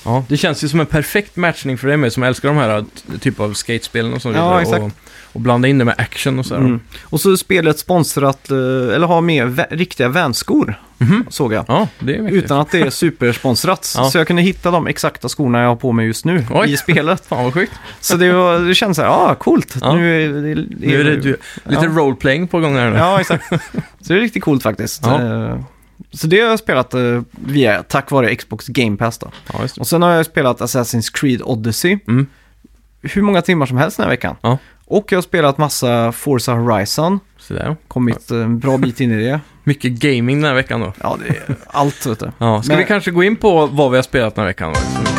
A: Ja,
B: Det känns ju som en perfekt matchning för dig med som älskar de här t- typ av skatespelen och sånt.
A: Ja,
B: där,
A: exakt.
B: Och, och blanda in det med action och sådär.
A: Mm. Och så är spelet sponsrat, eh, eller har med vä- riktiga vänskor,
B: Mhm.
A: såg jag.
B: Ja, det är mycket.
A: Utan att det är supersponsrat.
B: Ja.
A: Så jag kunde hitta de exakta skorna jag har på mig just nu
B: Oj.
A: i spelet.
B: Fan vad sjukt.
A: Så det, var, det kändes så här, ah, coolt.
B: Ja.
A: Nu är det, det,
B: Nu är det du, lite
A: Ja.
B: roleplaying på gång här nu.
A: Ja, exakt. Så det är riktigt coolt faktiskt.
B: Ja.
A: Eh, Så det har jag spelat eh, via, tack vare Xbox Game Pass då.
B: Ja, just det.
A: Och sen har jag spelat Assassin's Creed Odyssey.
B: Mm.
A: Hur många timmar som helst den här veckan.
B: Ja.
A: Och jag har spelat massa Forza Horizon.
B: Sådär.
A: Kommit eh, en bra bit in i det.
B: Mycket gaming den här veckan då.
A: Ja, det är allt vet du.
B: Ja, ska
A: Men-
B: vi kanske gå in på vad vi har spelat den här veckan? Då?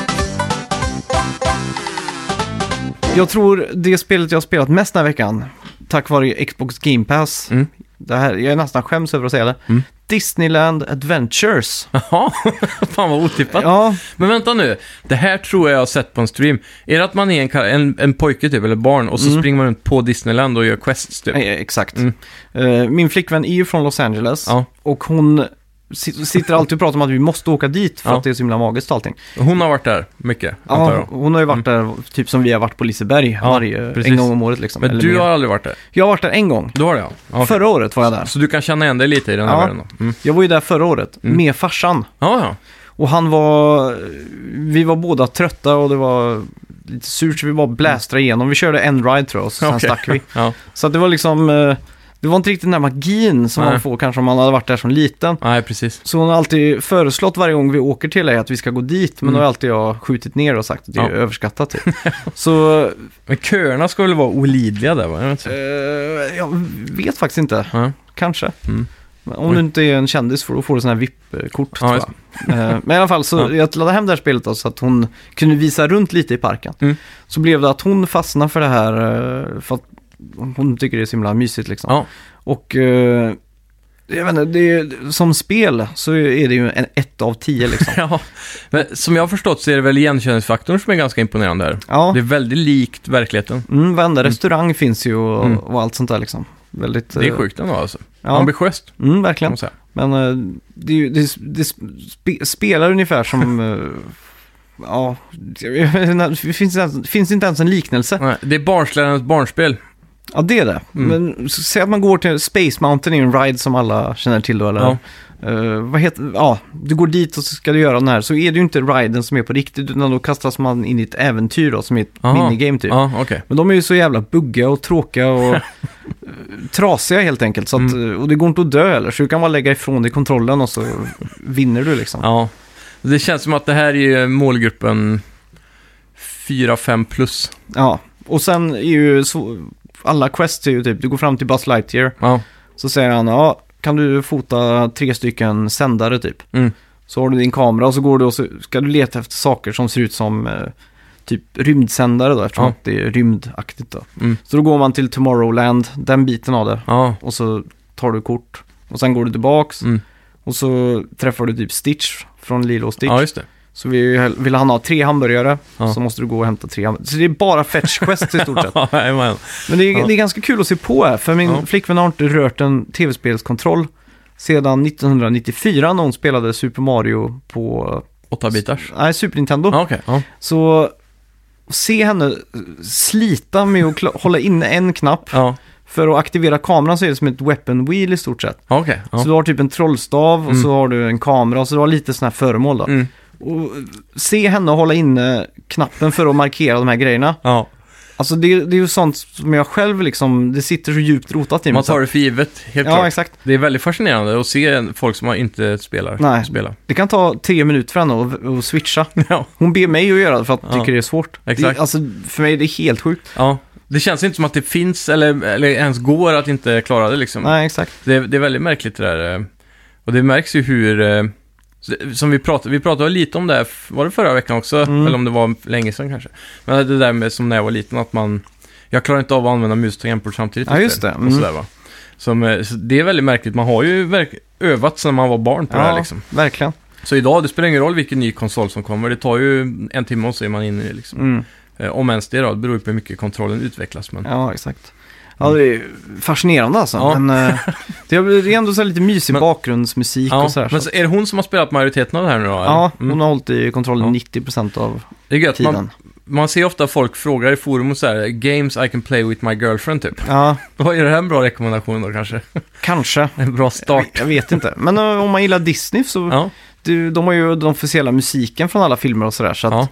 A: Jag tror det spelet jag har spelat mest den här veckan, tack vare Xbox Game Pass,
B: Mm.
A: det här, jag är nästan skäms över att säga det,
B: Mm.
A: Disneyland Adventures.
B: Jaha, fan vad otippat.
A: Ja,
B: Men vänta nu, det här tror jag jag har sett på en stream. Är det att man är en, kar- en, en pojke typ, eller barn, och så
A: Mm.
B: springer man runt på Disneyland och gör quests typ?
A: eh, exakt.
B: Mm.
A: Eh, Min flickvän är ju från Los Angeles
B: Ja.
A: och hon si- sitter alltid och pratar om att vi måste åka dit för
B: Ja.
A: att det är så himla magiskt och allting.
B: Hon har varit där mycket, antar
A: Ja,
B: jag. Mm.
A: hon har ju varit där, typ som vi har varit på Liseberg,
B: Ja,
A: varje,
B: precis.
A: en gång om året liksom.
B: Men
A: eller
B: du
A: mer.
B: har aldrig varit där?
A: Jag har varit där en gång.
B: Du har det ja. Ja, okej.
A: Förra året var jag där.
B: Så du kan känna igen dig lite i den här
A: Ja.
B: världen då? Mm.
A: Jag var ju där förra året
B: Mm.
A: med farsan.
B: Ja, ja.
A: Och han var, vi var båda trötta och det var lite surt så vi bara blästrade igenom. Vi körde en ride tror jag och sen
B: Mm. Okej.
A: stack vi.
B: ja.
A: Så att det var liksom, eh, det var inte riktigt den där magin som
B: Nej.
A: man får kanske om man hade varit där som liten.
B: Nej, precis.
A: Så hon har alltid föreslått varje gång vi åker till dig att vi ska gå dit, men
B: Mm.
A: då har alltid jag skjutit ner och sagt att det är
B: Ja.
A: överskattat typ. så
B: Men köerna ska väl vara olidliga där va? Jag vet
A: eh,
B: inte.
A: jag vet faktiskt inte,
B: Ja.
A: kanske.
B: Mm.
A: Men Om du inte är en kändis får då får du sådana här VIP-kort
B: Ja,
A: tror
B: just
A: jag. Eh, Men i alla fall så
B: Ja.
A: jag laddade hem det här spelet då, så att hon kunde visa runt lite i parken.
B: Mm.
A: Så blev det att hon fastnade för det här eh, för att hon tycker det är så himla mysigt liksom.
B: Ja.
A: Och eh, jag vet inte, det är, som spel så är det ju en ett av tio liksom.
B: ja. Men som jag har förstått så är det väl igenkänningsfaktorn som är ganska imponerande här.
A: Ja,
B: Det är väldigt likt verkligheten.
A: mm, varenda restaurang finns ju och,
B: Mm.
A: och allt sånt där liksom. Väldigt,
B: Det är
A: eh,
B: sjukt ändå alltså.
A: Ja,
B: Ambitiöst,
A: mm,
B: kan
A: verkligen.
B: man säga.
A: Men eh, det, är ju- det, det spe, spelar ungefär som... eh, ja, det finns, inte ens- finns inte ens en liknelse.
B: Nej, det är barnslärarens barnspel.
A: Ja, det är det.
B: Mm.
A: Men s- säg att man går till Space Mountain, är ju en ride som alla känner till då, eller?
B: Ja.
A: Eh, vad heter, ja, du går dit och så ska du göra den här. Så är det ju inte riden som är på riktigt, utan då kastas man in i ett äventyr då, som är ett
B: Aha.
A: minigame typ.
B: Ja, okej.
A: Men de är ju så jävla buggiga och tråkiga och eh, trasiga helt enkelt. Så att,
B: Mm.
A: eh, Och det går inte att dö heller, så du kan bara lägga ifrån dig kontrollen och så vinner du liksom.
B: Ja. Det känns som att det här är ju målgruppen 4-5 plus.
A: Ja, och sen är ju så, alla quests är ju typ, du går fram till Buzz Lightyear,
B: Ja,
A: så säger han, ja, kan du fota tre stycken sändare typ?
B: Mm.
A: Så har du din kamera och så går du och så ska du leta efter saker som ser ut som eh, typ rymdsändare då, eftersom
B: Ja.
A: att det är rymdaktigt då.
B: Mm.
A: Så då går man till Tomorrowland, den biten av det,
B: ja.
A: och så tar du kort. Och sen går du tillbaks
B: Mm.
A: och så träffar du typ Stitch från Lilo och Stitch.
B: ja just det.
A: Så vi, vill han ha tre hamburgare
B: Ja.
A: så måste du gå och hämta tre hamburgare. Så det är bara fetch quest i stort sett.
B: Jajamän.
A: Men det är,
B: Ja.
A: det är ganska kul att se på här, för min
B: Ja.
A: flickvän har inte rört en tv-spelskontroll sedan 1994 när hon spelade Super Mario på
B: Åtta bitars.
A: nej, Super Nintendo.
B: Ja, okej. Ja.
A: Så se henne eh, slita med att kla- hålla inne en knapp.
B: Ja,
A: För att aktivera kameran så är det som ett weapon wheel i stort sett.
B: ja okej.
A: Så
B: Ja.
A: du har typ en trollstav och
B: Mm.
A: så har du en kamera och så du har lite sådana här föremål då.
B: Mm.
A: Och se henne hålla inne knappen för att markera de här grejerna.
B: ja.
A: Alltså det, det är ju sånt som jag själv liksom, det sitter så djupt rotat i mig.
B: Man tar
A: så-
B: det för givet, helt
A: ja,
B: klart.
A: exakt.
B: Det är väldigt fascinerande att se folk som inte spelar
A: Nej.
B: spela.
A: Det kan ta tre minuter för henne att, att switcha.
B: Ja.
A: Hon ber mig att göra det för att hon
B: Ja,
A: tycker det är svårt.
B: exakt.
A: Det, alltså för mig är det helt sjukt.
B: ja. Det känns inte som att det finns eller, eller ens går att inte klara det liksom.
A: Nej, exakt.
B: Det, är- det är väldigt märkligt det där. eh, Och det märks ju hur... eh, så det- Som vi pratade, vi pratade lite om det här, f- var det förra veckan också?
A: Mm.
B: Eller om det var länge sedan kanske. Men det där med som när jag var liten, att man... Jag klarar inte av att använda mus och tangentbord samtidigt.
A: Ja,
B: efter,
A: just det. Mm.
B: Och sådär, va? Som, eh, så det är väldigt märkligt, man har ju verk- övat sedan man var barn på det här liksom.
A: verkligen.
B: Så idag, det spelar ingen roll vilken ny konsol som kommer, det tar ju en timme och så är man inne i det, liksom.
A: Mm.
B: Eh, Om ens det då, det beror ju på hur mycket kontrollen utvecklas. Men...
A: Ja, exakt. Ja, det är fascinerande alltså.
B: Ja.
A: Men eh, det är ändå så här lite mysig
B: Men-
A: bakgrundsmusik
B: Ja,
A: och så här.
B: men
A: så.
B: så är det hon som har spelat majoriteten av det här nu då? eller?
A: Ja, hon
B: Mm.
A: har hållit i kontrollen
B: Ja.
A: 90% av
B: Det är gött.
A: tiden.
B: Man, man ser ofta folk frågar i forum och så här, games I can play with my girlfriend typ.
A: Ja,
B: Då är det här en bra rekommendation då kanske?
A: kanske.
B: En bra start.
A: Jag vet inte. Men eh, om man gillar Disney så,
B: Ja,
A: du, de har ju den officiella musiken från alla filmer och sådär. Så att
B: ja.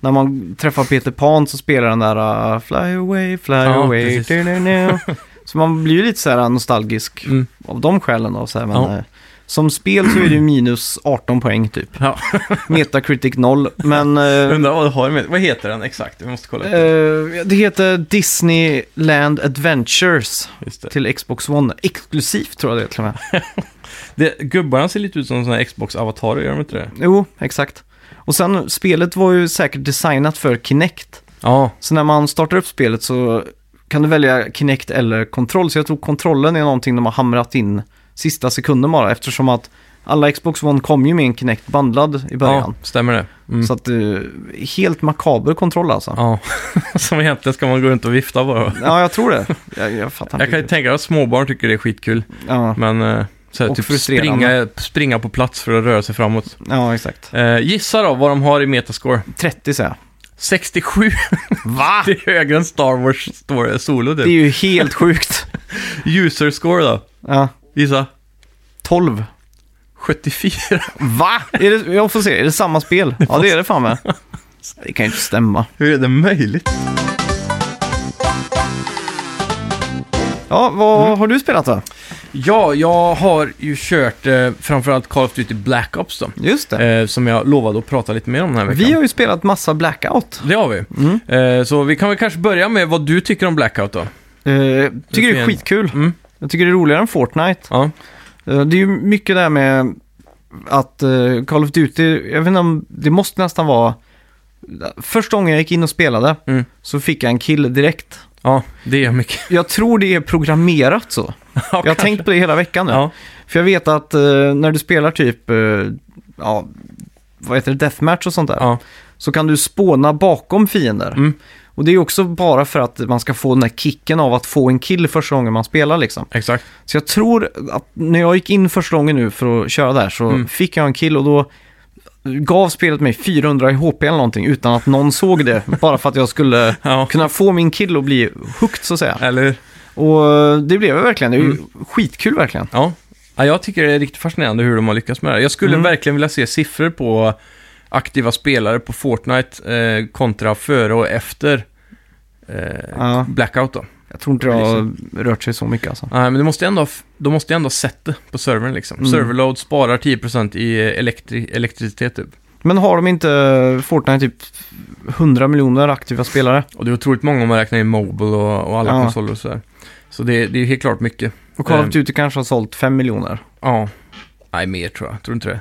A: när man träffar Peter Pan så spelar den där uh, Fly away, fly
B: Ja,
A: away.
B: precis.
A: Du, du, du. Så man blir ju lite så här nostalgisk
B: Mm.
A: av de skälen. Då, så här, men,
B: Ja.
A: eh, som spel så är det ju minus 18 poäng typ.
B: ja.
A: Metacritic 0. Men eh,
B: Undrar vad det har med. Vad heter den exakt? Vi måste kolla upp det.
A: eh, det heter Disneyland Adventures
B: Just det.
A: till Xbox One. Exklusivt tror jag det är till och med.
B: det. Gubbarna ser lite ut som sådana här Xbox-avatarer, gör de inte det?
A: Jo, exakt. Och sen, spelet var ju säkert designat för Kinect.
B: Ja,
A: Så när man startar upp spelet så kan du välja Kinect eller kontroll. Så jag tror kontrollen är någonting de har hamrat in sista sekunden bara. Eftersom att alla Xbox One kom ju med en Kinect bandlad i början.
B: ja stämmer det. Mm.
A: Så att eh, helt makaber kontroll alltså. Ja,
B: Ja, som egentligen ska man gå runt och vifta bara.
A: jag tror det. Jag, jag fattar
B: Jag kan ju
A: inte.
B: tänka mig att småbarn tycker det är skitkul,
A: riktigt. Ja,
B: men eh, så här,
A: Och
B: typ springa,
A: frustrerande.
B: springa på plats för att röra sig framåt.
A: ja, exakt.
B: Eh, gissa då vad de har i Metascore.
A: 30 säger jag.
B: 67. Va? Det är högre än Star Wars står- Solo
A: Det är
B: typ.
A: ju helt sjukt.
B: User score då?
A: Ja,
B: Gissa.
A: 12.
B: 74.
A: Va? Är det, jag får se, är det samma spel? Ja, det är det fan med. Det kan ju inte stämma.
B: Hur är det möjligt?
A: Ja, vad har du spelat då?
B: Ja, jag har ju kört eh, framförallt Call of Duty Black Ops då.
A: Just det.
B: Eh, som jag lovade att prata lite mer om den här veckan.
A: Vi har ju spelat massa Blackout.
B: Det har vi.
A: Mm.
B: Eh, så vi kan väl kanske börja med vad du tycker om Blackout då.
A: Eh, Jag tycker det är
B: Verkligen.
A: skitkul.
B: Mm.
A: Jag tycker det är roligare än Fortnite.
B: Ja.
A: Eh, Det är ju mycket det här med att eh, Call of Duty, jag vet inte om, det måste nästan vara... Första gången jag gick in och spelade
B: Mm.
A: så fick jag en kill direkt.
B: Ja, det är mycket.
A: Jag tror det är programmerat så. jag har tänkt på det hela veckan nu.
B: Ja.
A: För jag vet att eh, när du spelar typ, eh, ja, vad heter det, deathmatch och sånt där.
B: Ja.
A: Så kan du spåna bakom fiender.
B: Mm.
A: Och det är ju också bara för att man ska få den här kicken av att få en kill första gången man spelar liksom.
B: Exakt.
A: Så jag tror att när jag gick in första gången nu för att köra där så
B: Mm.
A: fick jag en kill och då gav spelet mig 400 i HP eller någonting utan att någon såg det. bara för att jag skulle
B: Ja.
A: kunna få min kill och bli hooked så att säga.
B: Eller
A: Och eh, det blev jag verkligen. Det är ju
B: Mm.
A: skitkul verkligen.
B: Ja. ja, jag tycker det är riktigt fascinerande hur de har lyckats med det här. Jag skulle
A: Mm.
B: verkligen vilja se siffror på aktiva spelare på Fortnite eh, kontra före och efter eh,
A: Ja.
B: Blackout då.
A: Jag tror inte det har rört sig så mycket alltså.
B: Nej, men det måste ändå, ha f- de måste ju ändå ha sett det på servern liksom.
A: Mm.
B: Serverload sparar 10% i eh, elektri elektricitet typ.
A: Men har de inte Fortnite typ 100 miljoner aktiva spelare?
B: Och det är otroligt många om man räknar in Mobile och, och alla
A: Ja.
B: konsoler och sådär. Så det, det är helt klart mycket.
A: Och Call
B: Ehm.
A: of Duty kanske har sålt 5 miljoner?
B: Ja. Nej, mer tror jag. Tror du inte det?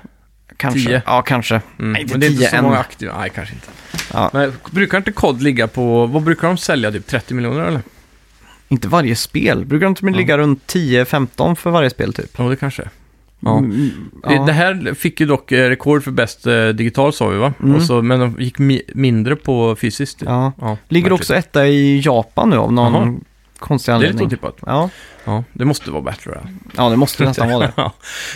A: Kanske.
B: Tio.
A: Ja, kanske.
B: Mm.
A: Nej, det är
B: Men det är inte
A: tio
B: så
A: än.
B: många aktiva. Nej, kanske inte.
A: Ja.
B: Men brukar inte kod ligga på, vad brukar de sälja? Typ 30 miljoner eller?
A: Inte varje spel. Brukar de inte ligga runt 10-15 för varje spel typ?
B: Ja, det kanske är. Ja.
A: Mm,
B: Det, det här fick ju dock eh, rekord för bäst eh, digital sa vi va?
A: Mm.
B: Och så, men de gick mi mindre på fysiskt. typ. Ja.
A: ja. Ligger
B: verkligen.
A: också etta i Japan nu av någon
B: Jaha.
A: konstig
B: Det är lite
A: anledning.
B: otippat.
A: ja.
B: Ja, det måste vara bättre. Royale.
A: ja, det måste nästan vara det.
B: Ja.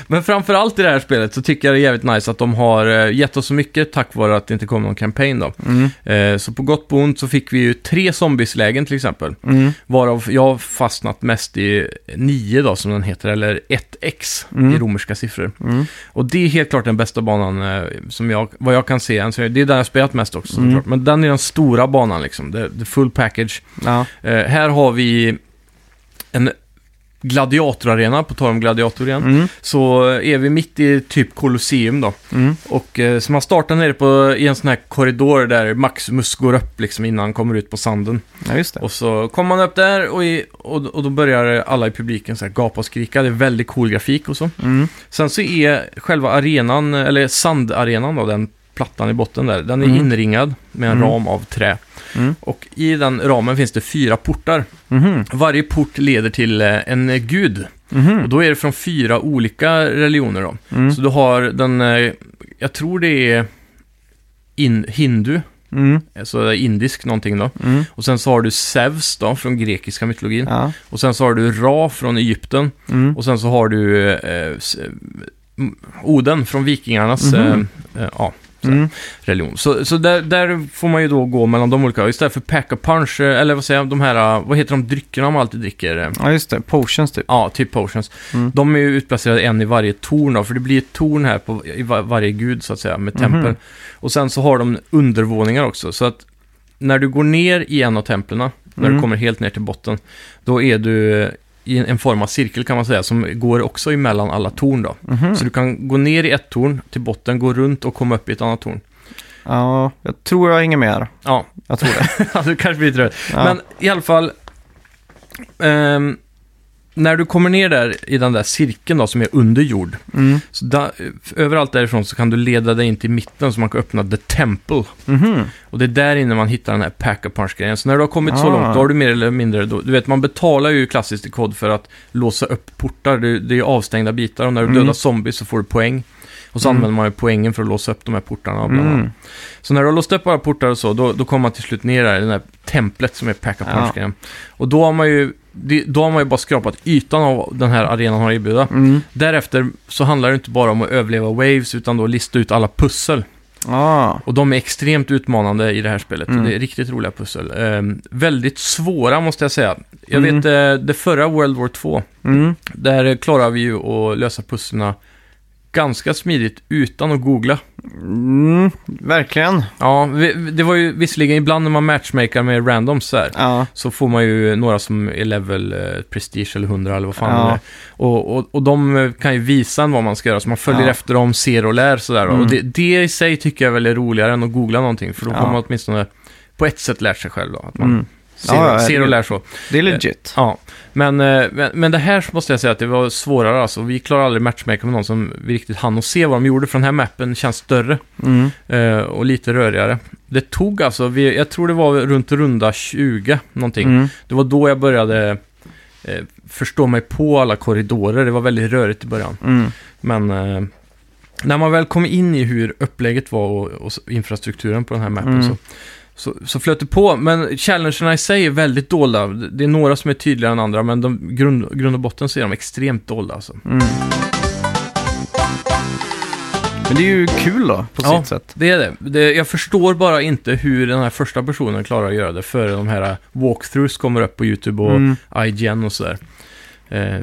B: Men framförallt i det här spelet så tycker jag det är jävligt nice att de har eh, gett oss så mycket tack vare att det inte kom någon kampanj då.
A: Mm.
B: Eh, Så på gott och ont så fick vi ju tre zombieslägen till exempel.
A: Mm.
B: Varav jag har fastnat mest i 9 då, som den heter, eller 1x
A: Mm.
B: i romerska siffror.
A: Mm.
B: Och det är helt klart den bästa banan eh, som jag, vad jag kan se än. Så det är den jag spelat mest också
A: Mm.
B: såklart. Men den är den stora banan liksom, the, the full package.
A: Ja.
B: Eh, här har vi en gladiatorarena, på tal om gladiator igen, så eh, är vi mitt i typ Colosseum då.
A: Mm.
B: Och eh, så man startar nere på, i en sån här korridor där Maximus går upp liksom innan han kommer ut på sanden.
A: Ja, just det.
B: Och så kommer man upp där och, i, och, och då börjar alla i publiken så här gapa och skrika. Det är väldigt cool grafik och så.
A: Mm.
B: Sen så är själva arenan, eller sandarenan då, den plattan i botten där, den är
A: Mm.
B: inringad med en
A: Mm.
B: ram av trä.
A: Mm.
B: Och i den ramen finns det fyra portar.
A: Mhm.
B: Varje port leder till eh, en eh, gud. Och
A: Mhm.
B: då är det från fyra olika religioner då.
A: Mm.
B: Så du har den, eh, jag tror det är in, hindu,
A: Mm.
B: alltså indisk någonting då.
A: Mm.
B: Och sen så har du Zeus då, från grekiska mytologin.
A: Ja.
B: Och sen så har du Ra från Egypten.
A: Mm.
B: Och sen så har du eh, s- m- Oden från vikingarnas
A: Mhm.
B: eh, eh, ja,
A: Mm.
B: religion. Så, så där, där får man ju då gå mellan de olika. Istället för pack och punch, eh, eller vad säger jag, de här, eh, vad heter de dryckerna man alltid dricker? Eh,
A: ja, just det. Potions typ.
B: Ja, typ potions.
A: Mm.
B: De är ju utplacerade en i varje torn då, för det blir ett torn här på, i va- varje gud så att säga, med tempel.
A: Mhm.
B: Och sen så har de undervåningar också, så att när du går ner i en av templen, när du
A: Mm.
B: kommer helt ner till botten, då är du eh, i en- en form av cirkel kan man säga, som går också emellan alla torn då.
A: Mhm.
B: Så du kan gå ner i ett torn, till botten, gå runt och komma upp i ett annat torn.
A: Ja, jag tror jag hänger med här.
B: Ja,
A: Jag tror det.
B: alltså kanske blir lite rörigt.
A: Ja.
B: Men i alla fall, ehm, när du kommer ner där i den där cirkeln då, som är under jord,
A: Mm.
B: så da, överallt därifrån så kan du leda dig in till mitten så man kan öppna The Temple.
A: Mhm.
B: Och det är där inne man hittar den här pack a punch grejen Så när du har kommit så
A: Ah.
B: långt, då har du mer eller mindre... Då, du vet, man betalar ju klassiskt i kod för att låsa upp portar. Det, det är avstängda bitar och när du
A: Mm.
B: dödar zombies så får du poäng. Och så
A: Mm.
B: använder man ju poängen för att låsa upp de här portarna. Bland annat.
A: Mm.
B: Så när du har låst upp alla portar och så, då, då kommer man till slut ner där i det här templet som är pack a punch grejen Och då har man ju... det- Då har man ju bara skrapat ytan av vad den här arenan har att erbjuda.
A: Mm.
B: Därefter så handlar det inte bara om att överleva waves, utan då lista ut alla pussel.
A: Ah.
B: Och de är extremt utmanande i det här spelet.
A: Mm.
B: Det är riktigt roliga pussel. Ehm, väldigt svåra, måste jag säga. Jag
A: Mm.
B: vet eh, det förra World War 2,
A: Mm.
B: där eh, klarar vi ju att lösa pusslerna ganska smidigt utan att googla.
A: Mm. Verkligen.
B: Ja, vi, det var ju visserligen ibland när man matchmakar med randoms så här.
A: Ja.
B: Så får man ju några som är level eh, prestige eller 100 eller vad fan
A: Ja.
B: det är. Och, och, och de eh, kan ju visa en vad man ska göra, så man följer
A: Ja.
B: efter dem, ser och lär sådär. då.
A: Mm.
B: Och det, det i sig tycker jag väl är roligare än att googla någonting, för då har
A: Ja.
B: man åtminstone på ett sätt lärt sig själv då. Att man
A: Mm.
B: ser,
A: Ja, ja,
B: ser och
A: herregud.
B: lär så.
A: Det är legit.
B: Ja. Men, eh, men, men det här måste jag säga att det var svårare alltså. Vi klarade aldrig matchmaker med någon som vi riktigt hann att se vad de gjorde, för den här mappen känns större.
A: Mm.
B: Eh, och lite rörigare. Det tog alltså, vi, jag tror det var runt runda 20 någonting.
A: Mm.
B: Det var då jag började eh, förstå mig på alla korridorer. Det var väldigt rörigt i början.
A: Mm.
B: Men eh, när man väl kom in i hur upplägget var och, och s- infrastrukturen på den här mappen
A: Mm.
B: så, så, så flöt det på. Men challengerna i sig är väldigt dolda. Det det är några som är tydligare än andra, men de, grund, grund och botten så är de extremt dolda. Alltså.
A: Mm. Men det är ju kul då, på
B: Ja.
A: sitt sätt.
B: Det är det. det. Jag förstår bara inte hur den här första personen klarar att göra det före de här walkthroughs kommer upp på YouTube och
A: Mm.
B: IGN och sådär. Eh,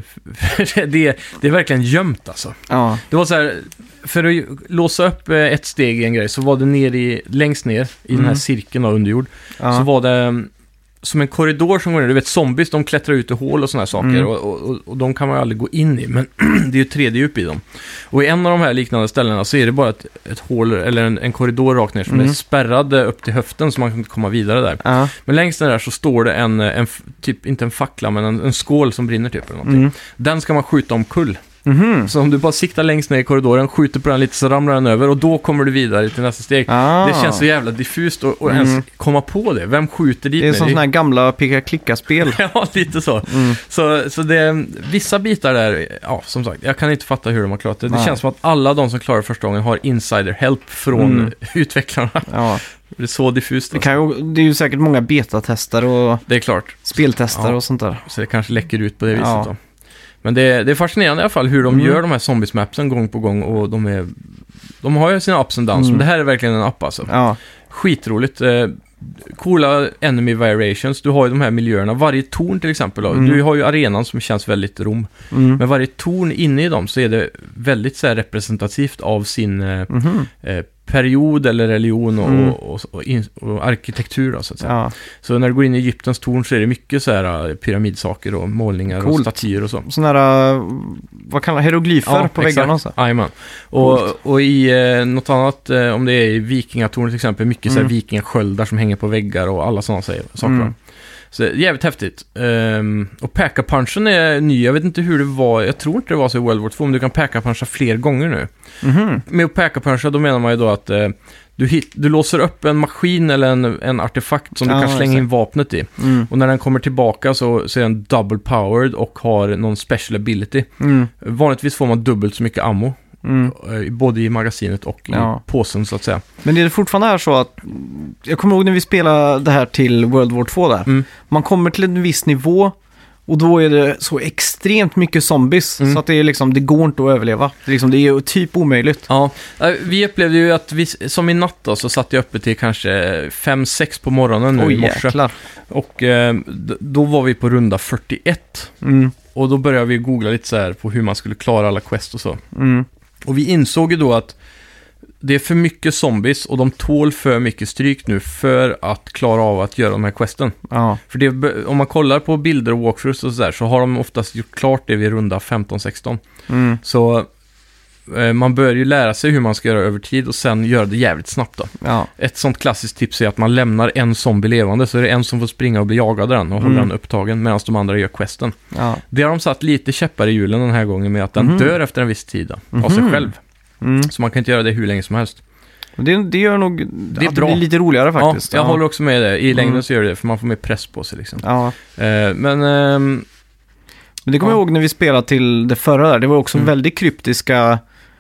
B: för det, är- det är verkligen gömt alltså.
A: Ja.
B: Det var så här, för att ju- låsa upp eh, ett steg i en grej så var det ner i, längst ner i den här
A: Mm.
B: cirkeln av underjord. Så
A: Ja.
B: var det mm, som en korridor som går ner. Du vet, zombies de klättrar ut i hål och sådana här saker.
A: Mm.
B: Och, och, och, och de kan man ju aldrig gå in i, men det är ju 3D-djup i dem. Och i en av de här liknande ställena så är det bara ett, ett hål, eller en, en korridor rakt ner som
A: Mm.
B: är spärrad eh, upp till höften så man kan inte komma vidare där.
A: Ja.
B: Men längst ner där så står det en, eh, en f- typ, inte en fackla, men en, en skål som brinner typ eller någonting.
A: Mm.
B: Den ska man skjuta omkull.
A: Mhm.
B: Så om du bara siktar längst ner i korridoren, skjuter på den lite så ramlar den över och då kommer du vidare till nästa steg.
A: Ah.
B: Det känns så jävla diffust att att
A: Mm.
B: ens komma på det. Vem skjuter dit
A: Det är
B: mig?
A: som sådana här gamla picka-klicka-spel.
B: Ja, lite så.
A: Mm.
B: Så, så det är vissa bitar där, ja som sagt, jag kan inte fatta hur de har klarat det. Det
A: Nej.
B: känns som att alla de som klarar första gången har insider help från
A: Mm.
B: utvecklarna.
A: Ja.
B: Det är så diffust.
A: Det,
B: alltså.
A: kan ju, det är ju säkert många betatestare och
B: Det är klart,
A: speltestare
B: Ja.
A: och sånt där.
B: så det kanske läcker ut på det viset
A: Ja.
B: då. Men det, det är fascinerande i alla fall hur de
A: Mm.
B: gör de här zombies-mapsen gång på gång och de är... De har ju sina ups and downs,
A: Mm.
B: men det här är verkligen en app alltså.
A: Ja.
B: Skitroligt. Eh, coola enemy variations. Du har ju de här miljöerna. Varje torn till exempel. då.
A: Mm.
B: Du har ju arenan som känns väldigt rom.
A: Mm.
B: Men varje torn inne i dem så är det väldigt så här representativt av sin eh,
A: Mhm.
B: eh, period eller religion och,
A: Mm.
B: och, och, in, och arkitektur då, så att säga.
A: Ja.
B: Så när du går in i Egyptens torn så är det mycket så här eh, pyramidsaker och målningar och
A: Coolt.
B: statyer och så.
A: Sådana här, eh, vad kallar hieroglyfer på väggarna och så.
B: Jajamän. Och, och i eh, något annat, eh, om det är i vikingatornet till exempel, mycket så här
A: Mm.
B: vikingasköldar som hänger på väggar och alla sådana saker.
A: Mm.
B: va. Så det är jävligt häftigt. Ehm, och packa-punchen är ny, jag vet inte hur det var, jag tror inte det var så i World War 2, men du kan packa-puncha fler gånger nu.
A: Mhm.
B: Med att packa-puncha, då menar man ju då att eh, du, hit, du låser upp en maskin eller en, en artefakt som du
A: Ja,
B: kan slänga
A: exakt.
B: in vapnet i.
A: Mm.
B: Och när den kommer tillbaka så, så är den double powered och har någon special ability.
A: Mm.
B: Vanligtvis får man dubbelt så mycket ammo,
A: Mm.
B: eh, både i magasinet och i
A: Ja.
B: påsen så att säga.
A: Men är det fortfarande här så att, jag kommer ihåg när vi spelade det här till World War 2 där.
B: Mm.
A: Man kommer till en viss nivå och då är det så extremt mycket zombies
B: Mm.
A: så att det är liksom, det går inte att överleva. Det är, liksom, det är ju typ omöjligt.
B: Ja, eh, vi upplevde ju att, vi, som i natt då, så satt jag uppe till kanske 5-6 på morgonen nu
A: Oj
B: i morse.
A: jäklar.
B: Och eh, d- då var vi på runda 41.
A: Mm.
B: Och då började vi googla lite så här på hur man skulle klara alla quest och så.
A: Mm.
B: Och vi insåg ju då att det är för mycket zombies och de tål för mycket stryk nu för att klara av att göra de här questen.
A: Ja.
B: För det, be- om man kollar på bilder och walkthroughs och sådär så har de oftast gjort klart det vid runda 15-16.
A: Mm.
B: Så eh, man bör ju lära sig hur man ska göra över tid och sen göra det jävligt snabbt då.
A: Ja.
B: Ett sånt klassiskt tips är att man lämnar en zombie levande så är det en som får springa och bli jagad av den och hålla
A: Mm.
B: den upptagen medan de andra gör questen.
A: Ja.
B: Det har de satt lite käppar i hjulen den här gången med att den
A: Mhm.
B: dör efter en viss tid då, av sig
A: Mhm.
B: själv.
A: Mm.
B: Så man kan inte göra det hur länge som helst.
A: Men Det, det gör nog det
B: är
A: att
B: bra.
A: det blir lite roligare faktiskt.
B: Ja, jag håller också med dig. I längden
A: Mm.
B: så gör det det, för man får mer press på sig liksom.
A: Ja.
B: Eh, men... ehm,
A: Men det kommer
B: Ja.
A: jag ihåg när vi spelade till det förra där. Det var också
B: Mm.
A: väldigt kryptiska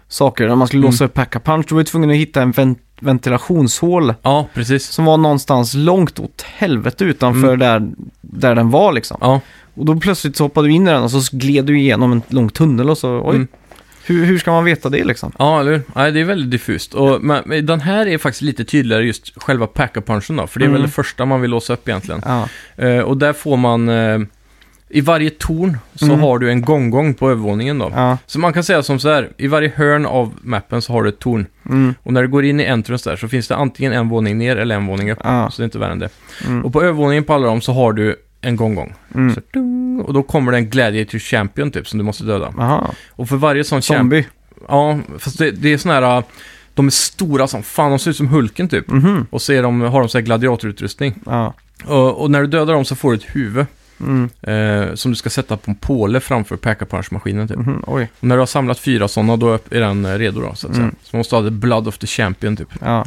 A: saker. När man skulle
B: Mm.
A: låsa upp Packapunch, då var vi tvungen att hitta en ven- ventilationshål
B: ja, precis.
A: som var någonstans långt åt helvete utanför där, där den var liksom.
B: Mm. Ja.
A: Och då plötsligt så hoppade du in i den och så gled du igenom en lång tunnel och så, oj.
B: Mm.
A: Hur, hur ska man veta det liksom?
B: Ja, eller hur? Nej, det är väldigt diffust. Och, men, men den här är faktiskt lite tydligare just själva pack-a-punchen då, för det är väl
A: Mm.
B: det första man vill låsa upp egentligen.
A: Ja,
B: Eh, och där får man... eh, I varje torn så
A: Mm.
B: har du en gånggång på övervåningen då.
A: ja,
B: Så man kan säga som så här, i varje hörn av mappen så har du ett torn.
A: mm,
B: Och när du går in i entrance där så finns det antingen en våning ner eller en våning upp.
A: ja,
B: Så det är inte värre än det.
A: Mm.
B: Och på övervåningen på alla dem så har du en gånggång.
A: mm.
B: Så, dung, och då kommer det en Gladiator Champion typ som du måste döda.
A: Aha.
B: Och för varje sån champion...
A: Zombie.
B: Ja, fast det, det är såna här... äh, De är stora som fan, de ser ut som Hulken typ.
A: Mhm.
B: Och så är de, har de så här gladiatorutrustning.
A: Ja.
B: Och, och när du dödar dem så får du ett huvud
A: Mm.
B: eh, som du ska sätta på en påle framför Pack-a-Punch-maskinen typ.
A: Mhm. Oj.
B: Och när du har samlat fyra sådana då är den eh, redo då, så att
A: Mm.
B: säga. Så man måste ha the blood of the champion typ.
A: Ja.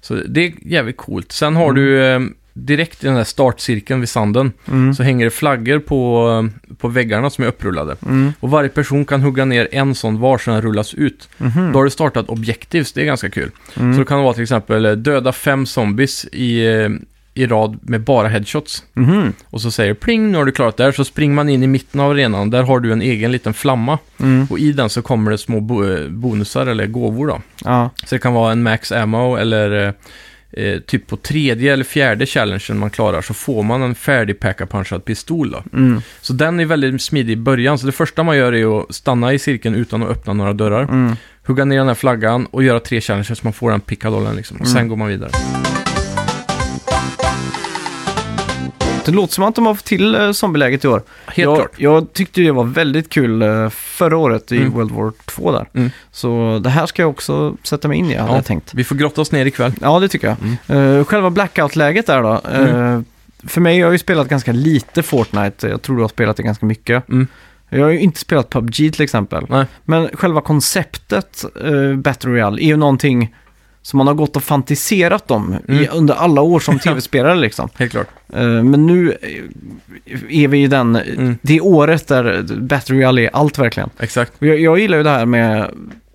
B: Så det är jävligt coolt. Sen har
A: Mm.
B: du eh, direkt i den där startcirkeln vid sanden
A: Mm.
B: så hänger det flaggor på, eh, på väggarna som är upprullade.
A: Mm.
B: Och varje person kan hugga ner en sån var så den rullas ut.
A: Mhm.
B: Då har du startat objectives, det är ganska kul.
A: Mm.
B: Så då kan det vara till exempel eh, döda fem zombies i, eh, i rad med bara headshots.
A: Mhm.
B: Och så säger det, pling, nu har du klarat det här. Så springer man in i mitten av arenan, där har du en egen liten flamma.
A: Mm.
B: Och i den så kommer det små bo- eh, bonusar eller gåvor då.
A: Ja.
B: Så det kan vara en max ammo eller eh, eh, typ på tredje eller fjärde challengen man klarar så får man en färdig packa-punchad pistol då.
A: Mm.
B: Så den är väldigt smidig i början. Så det första man gör är att stanna i cirkeln utan att öppna några dörrar.
A: Mm.
B: Hugga ner den här flaggan och göra tre challenges så man får den pickadollen liksom. Och sen går man vidare.
A: Det låter som att de har fått till eh, zombieläget i år.
B: Helt
A: jag,
B: klart.
A: jag tyckte det var väldigt kul eh, förra året i
B: Mm.
A: World War 2 där.
B: Mm.
A: Så det här ska jag också sätta mig in i, hade
B: Ja. Mm.
A: jag tänkt.
B: Vi får grotta oss ner ikväll.
A: Ja, det tycker jag. Eh, själva blackout-läget där då. eh,
B: Mm.
A: För mig, jag har ju spelat ganska lite Fortnite. Jag tror du har spelat det ganska mycket.
B: Mm.
A: Jag har ju inte spelat PubG till exempel.
B: Nej.
A: Men själva konceptet eh, Battle Royale är ju någonting som man har gått och fantiserat om i,
B: Mm.
A: under alla år som tv-spelare liksom.
B: Helt klart.
A: Eh, Men nu eh, är vi i den,
B: Mm.
A: det är året där Battle Royale är allt verkligen.
B: Exakt.
A: Och Jag, jag gillar ju det här med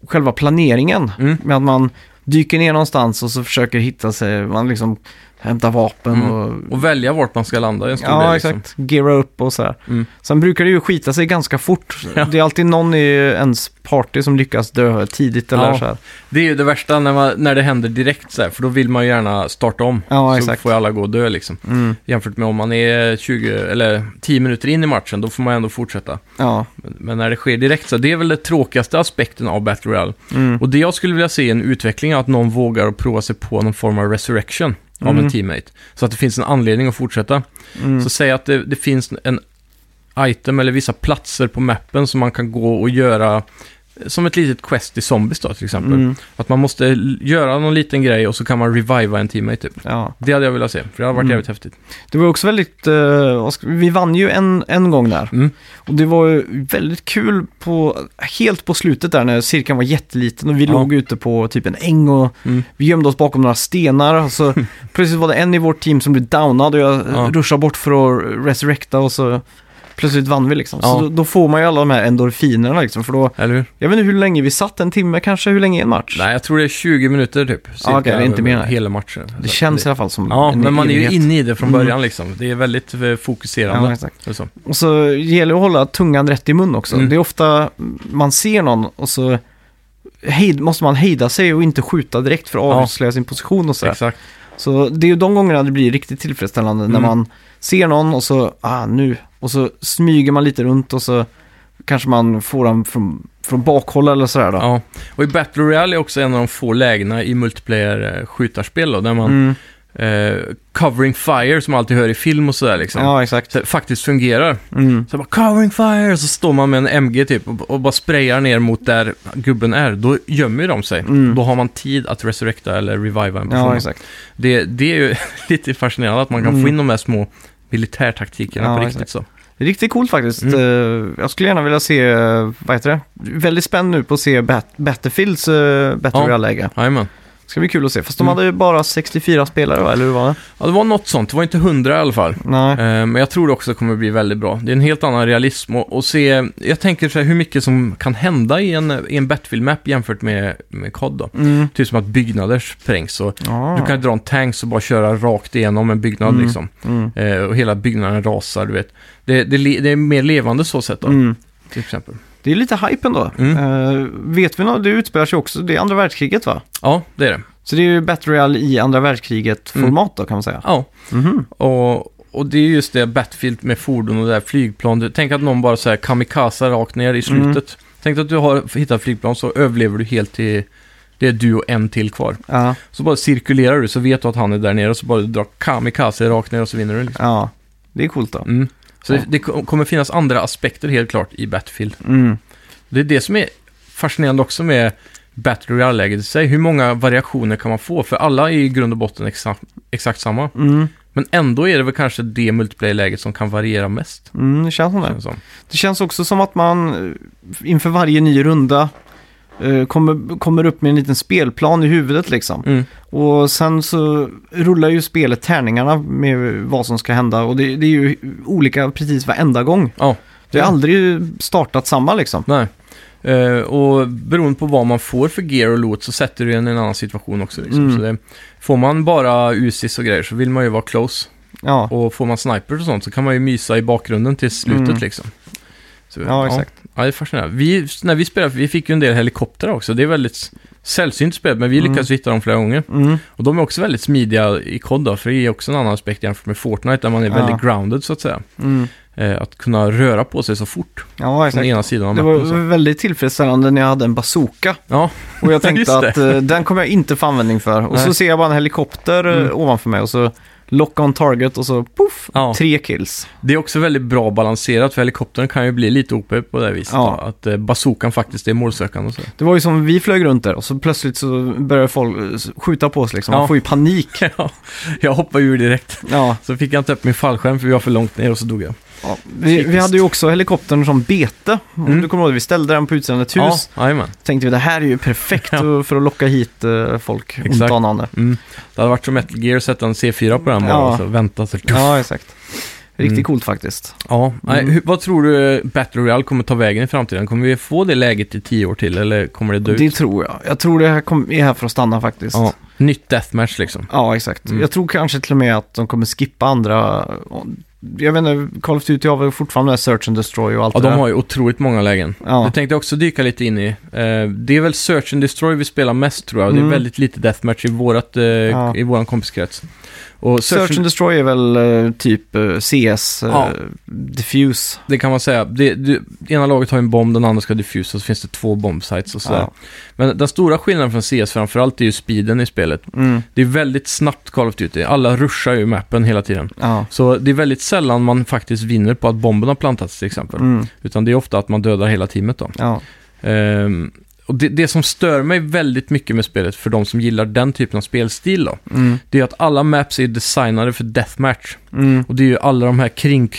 A: själva planeringen,
B: Mm.
A: med att man dyker ner någonstans och så försöker hitta sig, man liksom, hämta vapen
B: Mm.
A: och...
B: Och välja vart man ska landa är en stor
A: Ja,
B: del, liksom.
A: exakt. Geara upp och sådär.
B: Mm.
A: Sen brukar det ju skita sig ganska fort.
B: Ja.
A: Det är alltid någon i ens party som lyckas dö tidigt eller
B: Ja.
A: så här.
B: Det är ju det värsta när, man, när det händer direkt så här, för då vill man ju gärna starta om.
A: Ja,
B: så
A: exakt.
B: får ju alla gå och dö liksom.
A: Mm.
B: Jämfört med om man är 20 eller 10 minuter in i matchen, då får man ändå fortsätta.
A: Ja.
B: Men, men när det sker direkt så, det är väl den tråkigaste aspekten av Battle Royale.
A: Mm.
B: Och det jag skulle vilja se är en utveckling av att någon vågar att prova sig på någon form av resurrection av
A: Mm.
B: en teammate. Så att det finns en anledning att fortsätta.
A: Mm.
B: Så säg att det, det finns en item eller vissa platser på mappen som man kan gå och göra eh, som ett litet quest i Zombies då till exempel.
A: Mm.
B: Att man måste l- göra någon liten grej och så kan man reviva en teammate typ.
A: Ja.
B: Det hade jag velat se, för det hade varit
A: Mm.
B: jävligt häftigt.
A: Det var också väldigt, eh, vad ska- vi vann ju en, en gång där.
B: Mm.
A: Och det var ju väldigt kul på, helt på slutet där när cirkeln var jätteliten och vi
B: Ja.
A: låg ute på typ en äng och
B: Mm.
A: vi gömde oss bakom några stenar. Och så precis var det en i vårt team som blev downad och jag
B: Ja.
A: ja. rushade bort för att resurrecta och så plötsligt vann vi liksom.
B: Ja.
A: Så då, då får man ju alla de här endorfinerna liksom. För då,
B: Eller hur?
A: jag vet inte hur länge vi satt, en timme kanske, hur länge är en match?
B: Nej, jag tror det är 20 minuter typ. cirka,
A: okej, det är inte mer, nej.
B: Hela matchen.
A: Det känns i alla fall som
B: Ja, men man är ju
A: evighet.
B: inne i det från
A: Mm.
B: början liksom. Det är väldigt eh,
A: Ja,
B: fokuserande. Alltså.
A: exakt.
B: eller så.
A: Och så gäller det att hålla tungan rätt i mun också.
B: Mm.
A: Det är ofta man ser någon och så hejd, måste man hejda sig och inte skjuta direkt för att
B: Ja.
A: avslöja sin position och sådär.
B: Exakt.
A: Så det är ju de gångerna det blir riktigt tillfredsställande när
B: Mm.
A: man ser någon och så, ah nu, och så smyger man lite runt och så kanske man får den från, från bakhåll eller sådär då.
B: Ja. Och i Battle Royale är också en av de få lägena i multiplayer-skjutarspel då, där man
A: Mm.
B: eh, covering fire som man alltid hör i film och sådär liksom.
A: ja exakt.
B: Så det faktiskt fungerar.
A: Mm.
B: Så bara covering fire, så står man med en MG typ och, och bara sprayar ner mot där gubben är. Då gömmer ju de sig.
A: Mm.
B: Då har man tid att resurrecta eller reviva en person.
A: Ja, exakt.
B: det, det är ju lite fascinerande att man kan få
A: Mm.
B: in de här små militärtaktikerna
A: Ja,
B: på riktigt så.
A: Det är Riktigt coolt faktiskt.
B: Mm.
A: Eh, Jag skulle gärna vilja se, eh, vad heter det? Väldigt spänd nu på att se Bat- Battlefields eh, Battle
B: Ja.
A: Royale-läge.
B: Jajamän.
A: Ska bli kul att se. Fast de
B: Mm.
A: hade ju bara 64 spelare va? Eller hur var det?
B: Ja, det var något sånt. Det var inte hundra i alla fall.
A: Nej.
B: Eh, Men jag tror det också kommer bli väldigt bra. Det är en helt annan realism och, och se, jag tänker så här hur mycket som kan hända i en, i en Battlefield-map jämfört med, med COD då.
A: Mm.
B: Typ som att byggnader sprängs och
A: Ja.
B: du kan dra en tank och bara köra rakt igenom en byggnad
A: Mm.
B: liksom.
A: Mm.
B: Eh, och hela byggnaden rasar, du vet. Det, det, le- det är mer levande så sätt då,
A: Mm.
B: till exempel.
A: Det är lite hype ändå.
B: Mm.
A: Eh, vet vi något? Det utspelar sig också, det är andra världskriget va?
B: Ja, det är det.
A: Så det är ju Battle Royale i andra världskriget-format då kan man säga.
B: Ja.
A: Mhm.
B: Och, och det är just det, Battlefield med fordon och det där flygplan. Du- Tänk att någon bara så här kamikaze rakt ner i
A: Mm.
B: slutet. Tänk att du har hittat flygplan så överlever du helt till det är du och en till kvar.
A: Ja.
B: Så bara cirkulerar du så vet du att han är där nere och så bara drar kamikaze rakt ner och så vinner du. Liksom.
A: ja, det är coolt då.
B: Mm. Så
A: Ja.
B: det, det ko- kommer finnas andra aspekter helt klart i Battlefield.
A: Mm.
B: Det är det som är fascinerande också med Battle Royale-läget i sig. Hur många variationer kan man få? För alla är i grund och botten exakt, exakt samma.
A: Mm.
B: Men ändå är det väl kanske det multiplayer-läget som kan variera mest.
A: Mm. Det känns som det.
B: känns som.
A: Det känns också som att man eh, inför varje ny runda eh, kommer, kommer upp med en liten spelplan i huvudet liksom.
B: Mm.
A: Och sen så rullar ju spelet tärningarna med vad som ska hända och det, det är ju olika precis varenda gång.
B: Ja.
A: Det har aldrig startat samma liksom.
B: Nej. Eh, och beroende på vad man får för gear och loot så sätter du en i en annan situation också. Liksom.
A: Mm.
B: Så det, får man bara UCs och grejer så vill man ju vara close.
A: Ja,
B: Och får man snipers och sånt så kan man ju mysa i bakgrunden till slutet
A: Mm.
B: liksom. Så,
A: ja exakt.
B: Ja, det är fascinerande. Vi, när vi spelade, vi fick ju en del helikoptrar också. Det är väldigt sällsynt spel, men vi
A: Mm.
B: lyckades hitta dem flera gånger.
A: Mm.
B: Och de är också väldigt smidiga i COD då, för det är också en annan aspekt jämfört med Fortnite, där man är
A: Ja.
B: väldigt grounded så att säga.
A: Mm.
B: Eh, att kunna röra på sig så fort
A: Ja,
B: från
A: exakt.
B: ena sidan av
A: Det
B: mappen. så.
A: var väldigt tillfredsställande när jag hade en bazooka
B: Ja,
A: och jag
B: Just
A: tänkte
B: det.
A: att eh, den kommer jag inte få användning för. Och så
B: Nej.
A: ser jag bara en helikopter eh,
B: Mm.
A: ovanför mig och så lock on target och så poff,
B: Ja.
A: tre kills.
B: Det är också väldigt bra balanserat för helikoptern kan ju bli lite OP på det här viset.
A: Ja.
B: då, Att eh, bazookan faktiskt är målsökande och så.
A: Det var ju som vi flög runt där och så plötsligt så började folk eh, skjuta på oss liksom. Man
B: Ja.
A: får ju panik.
B: Ja, jag hoppar ur direkt.
A: Ja.
B: Så fick jag inte upp min fallskärm för vi var för långt ner och så dog jag.
A: Ja, vi, vi hade ju också helikoptern som bete. Om
B: Mm.
A: Du kommer ihåg, vi ställde den på utsidan av ett hus.
B: Ja, jajamän.
A: Tänkte vi, det här är ju perfekt
B: Ja.
A: för att locka hit eh, folk
B: Exakt.
A: ont anande.
B: mm. Det hade varit som Metal Gear att sätta en C4 på den bara
A: Ja. Mm.
B: och så vänta så...
A: Ja, exakt. Riktigt
B: Mm.
A: coolt faktiskt.
B: Ja, nej, hur- vad tror du eh, Battle Royale kommer ta vägen i framtiden? Kommer vi få det läget i tio år till eller kommer det dö ut?
A: Det tror jag. Jag tror det här kom, är här för att stanna faktiskt.
B: Ja, nytt deathmatch liksom.
A: Ja, exakt. Jag tror kanske till och med att de kommer skippa andra... Jag vet inte, Call of Duty har väl fortfarande det här Search and Destroy och allt
B: Ja,
A: det
B: de har ju otroligt många lägen.
A: Ja.
B: Det tänkte jag också dyka lite in i. Eh, det är väl Search and Destroy vi spelar mest tror jag. Det
A: Mm.
B: är väldigt lite deathmatch i, vårat, eh,
A: Ja.
B: i våran kompiskrets. Och Search,
A: Search and
B: and...
A: Destroy är väl eh, typ eh, CS, eh,
B: Ja.
A: Diffuse.
B: Det kan man säga. Det, det, ena laget har en bomb, den andra ska diffusa, så finns det två bombsites och sådär.
A: Ja.
B: Men den stora skillnaden från CS framförallt är ju speeden i spelet.
A: Mm.
B: Det är väldigt snabbt Call of Duty. Alla ruschar ju mappen hela tiden.
A: Ja.
B: Så det är väldigt sällan man faktiskt vinner på att bomben har plantats till exempel.
A: Mm.
B: Utan det är ofta att man dödar hela teamet då.
A: Ja.
B: Ehm, och det, det som stör mig väldigt mycket med spelet för de som gillar den typen av spelstil då,
A: Mm.
B: det är att alla maps är designade för deathmatch.
A: Mm.
B: Och det är ju alla de här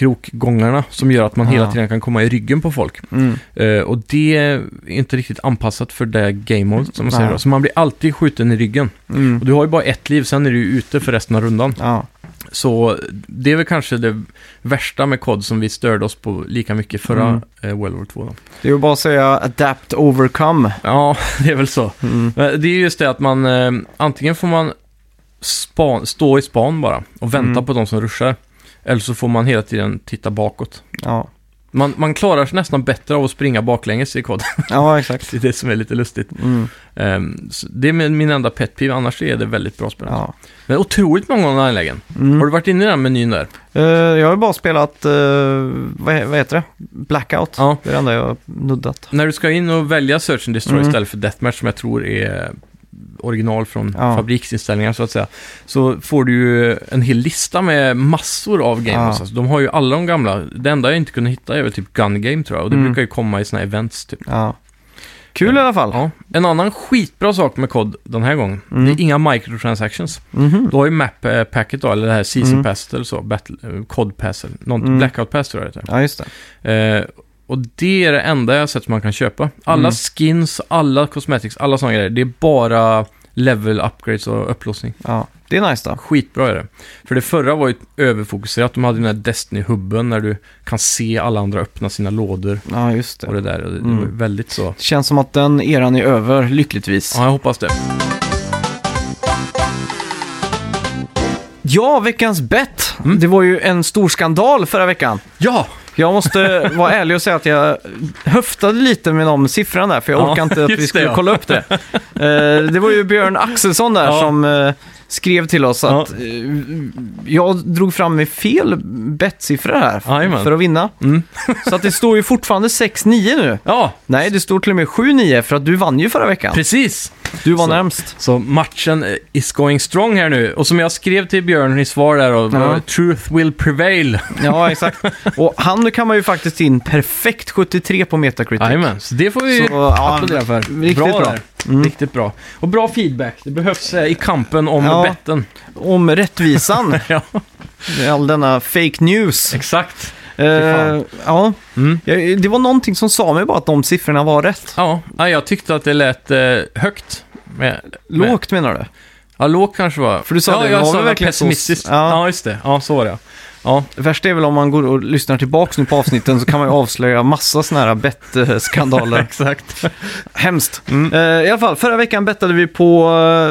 B: kringkrokgångarna som gör att man hela
A: Ja.
B: tiden kan komma i ryggen på folk.
A: Mm.
B: Eh, och det är inte riktigt anpassat för det game mode som man
A: Nej.
B: säger då. Så man blir alltid skjuten i ryggen.
A: Mm.
B: Och du har ju bara ett liv, sen är du ju ute för resten av rundan.
A: Ja.
B: Så det är väl kanske det värsta med kod som vi störde oss på lika mycket förra
A: Mm.
B: eh, World War 2. Då.
A: Det är ju bara att säga adapt, overcome. Mm,
B: Ja, det är väl så. Men Det är just det att man, eh, antingen får man span, stå i span bara och vänta
A: Mm.
B: på de som ruschar. Eller så får man hela tiden titta bakåt.
A: Ja,
B: Man, man klarar sig nästan bättre av att springa baklänges i kod.
A: ja exakt.
B: Det är det som är lite lustigt.
A: Mm.
B: Ehm, så det är min min enda pet peeve, annars är det väldigt bra spel.
A: Ja.
B: Men otroligt många online-lägen.
A: Mm.
B: Har du varit inne i den här menyn där?
A: Eh, jag har ju bara spelat, eh, vad, he- vad heter det? Blackout.
B: Ja.
A: Det är det enda jag har nuddat.
B: När du ska in och välja Search and Destroy
A: Mm.
B: istället för Deathmatch som jag tror är original från
A: Ja.
B: fabriksinställningar så att säga. Så får du ju en hel lista med massor av games.
A: Ja.
B: Alltså, de har ju alla de gamla. Det enda jag inte kunde hitta är väl typ Gun Game tror jag. Och det
A: Mm.
B: brukar ju komma i såna här events typ.
A: Ja. Kul i alla fall.
B: Ja. En annan skitbra sak med COD den här gången.
A: Mm.
B: Det är inga microtransactions.
A: Mhm.
B: Du har ju Map eh, Packet då, eller det här Season
A: Mm.
B: Pass eller så. Battle, eh, COD Pass eller någon,
A: Mm.
B: Blackout Pass tror jag det heter.
A: Ja, just det.
B: Eh, och det är det enda jag har sett som man kan köpa. Alla
A: Mm.
B: skins, alla cosmetics, alla sådana grejer. Det är bara level upgrades och upplåsning.
A: Ja. Det är nice då.
B: Skitbra är det. För det förra var ju överfokuserat. De hade den här Destiny-hubben där du kan se alla andra öppna sina lådor
A: Ja, just det.
B: och det där. Och det, det
A: Mm.
B: var ju väldigt så.
A: Det känns som att den eran är över, lyckligtvis.
B: Ja, jag hoppas det.
A: Ja, veckans bett.
B: Mm.
A: Det var ju en stor skandal förra veckan.
B: Ja!
A: Jag måste vara ärlig och säga att jag höftade lite med de siffrorna där, för jag
B: Ja,
A: orkade inte att
B: just
A: vi
B: det,
A: skulle
B: ja.
A: kolla upp det. Eh, Det var ju Björn Axelsson där
B: Ja.
A: som eh, skrev till oss
B: Ja.
A: att eh, jag drog fram med fel bettsiffror här
B: Jajamän.
A: för att vinna.
B: Mm.
A: Så att det står ju fortfarande 6-9 nu.
B: Ja,
A: Nej, det står till och med 7-9 för att du vann ju förra veckan.
B: precis!
A: Du var
B: Så.
A: närmst.
B: Så matchen eh, is going strong här nu. Och som jag skrev till Björn i svar där, och,
A: Ja.
B: truth will prevail.
A: Ja, exakt. Och han kan man ju faktiskt in perfekt 73 på Metacritic.
B: Jajamän, så det får vi
A: Så, ja,
B: applådera för.
A: riktigt bra. Mm.
B: där. Riktigt bra. Och bra feedback. Det behövs eh, i kampen om
A: Ja.
B: betten.
A: Om rättvisan,
B: Ja,
A: all denna fake news.
B: exakt.
A: Eh, ja.
B: Mm.
A: Ja, Det var någonting som sa mig bara att de siffrorna var rätt.
B: Ja, nej, jag tyckte att det lät eh, högt. Med, med-
A: Lågt menar du?
B: Ja, lågt kanske var.
A: För du sa
B: ja,
A: det,
B: jag
A: var
B: sa
A: vi verkligen så-
B: pessimistiskt.
A: Ja.
B: Ja. just det. Ja, så var det. Ja,
A: Det värsta är väl om man går och lyssnar tillbaks nu på avsnitten så kan man ju avslöja massa sådana här bettskandaler.
B: exakt.
A: Hemskt. Eh, I alla fall, förra veckan bettade vi på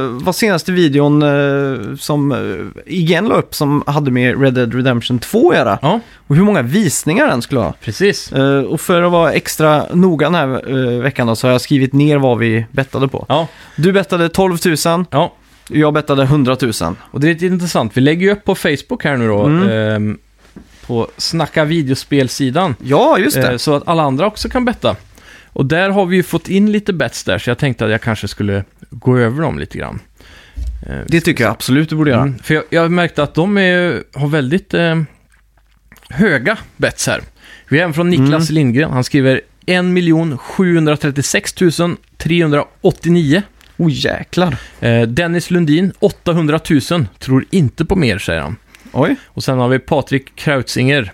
A: eh, vad senaste videon eh, som eh, igen la upp som hade med Red Dead Redemption 2 att göra.
B: Ja,
A: Och hur många visningar den skulle ha.
B: precis.
A: Eh, och för att vara extra noga den här eh, veckan då, så har jag skrivit ner vad vi bettade på.
B: Ja,
A: Du bettade 12 000,
B: ja.
A: jag bettade 100 000.
B: Och det är lite intressant. Vi lägger ju upp på Facebook här nu då.
A: Mm.
B: ehm, på Snacka videospelsidan.
A: Ja, just det.
B: Eh, Så att alla andra också kan betta. Och där har vi ju fått in lite bets där, så jag tänkte att jag kanske skulle gå över dem lite grann. Eh,
A: det tycker jag absolut du borde göra.
B: mm, För jag, jag märkte att de är, har väldigt eh, höga bets här. Vi har en från
A: Mm.
B: Niklas Lindgren. Han skriver 1 736 389.
A: Oh jäklar.
B: Eh, Dennis Lundin 800 000. Tror inte på mer, säger han.
A: Oj.
B: Och sen har vi Patrik Krautzinger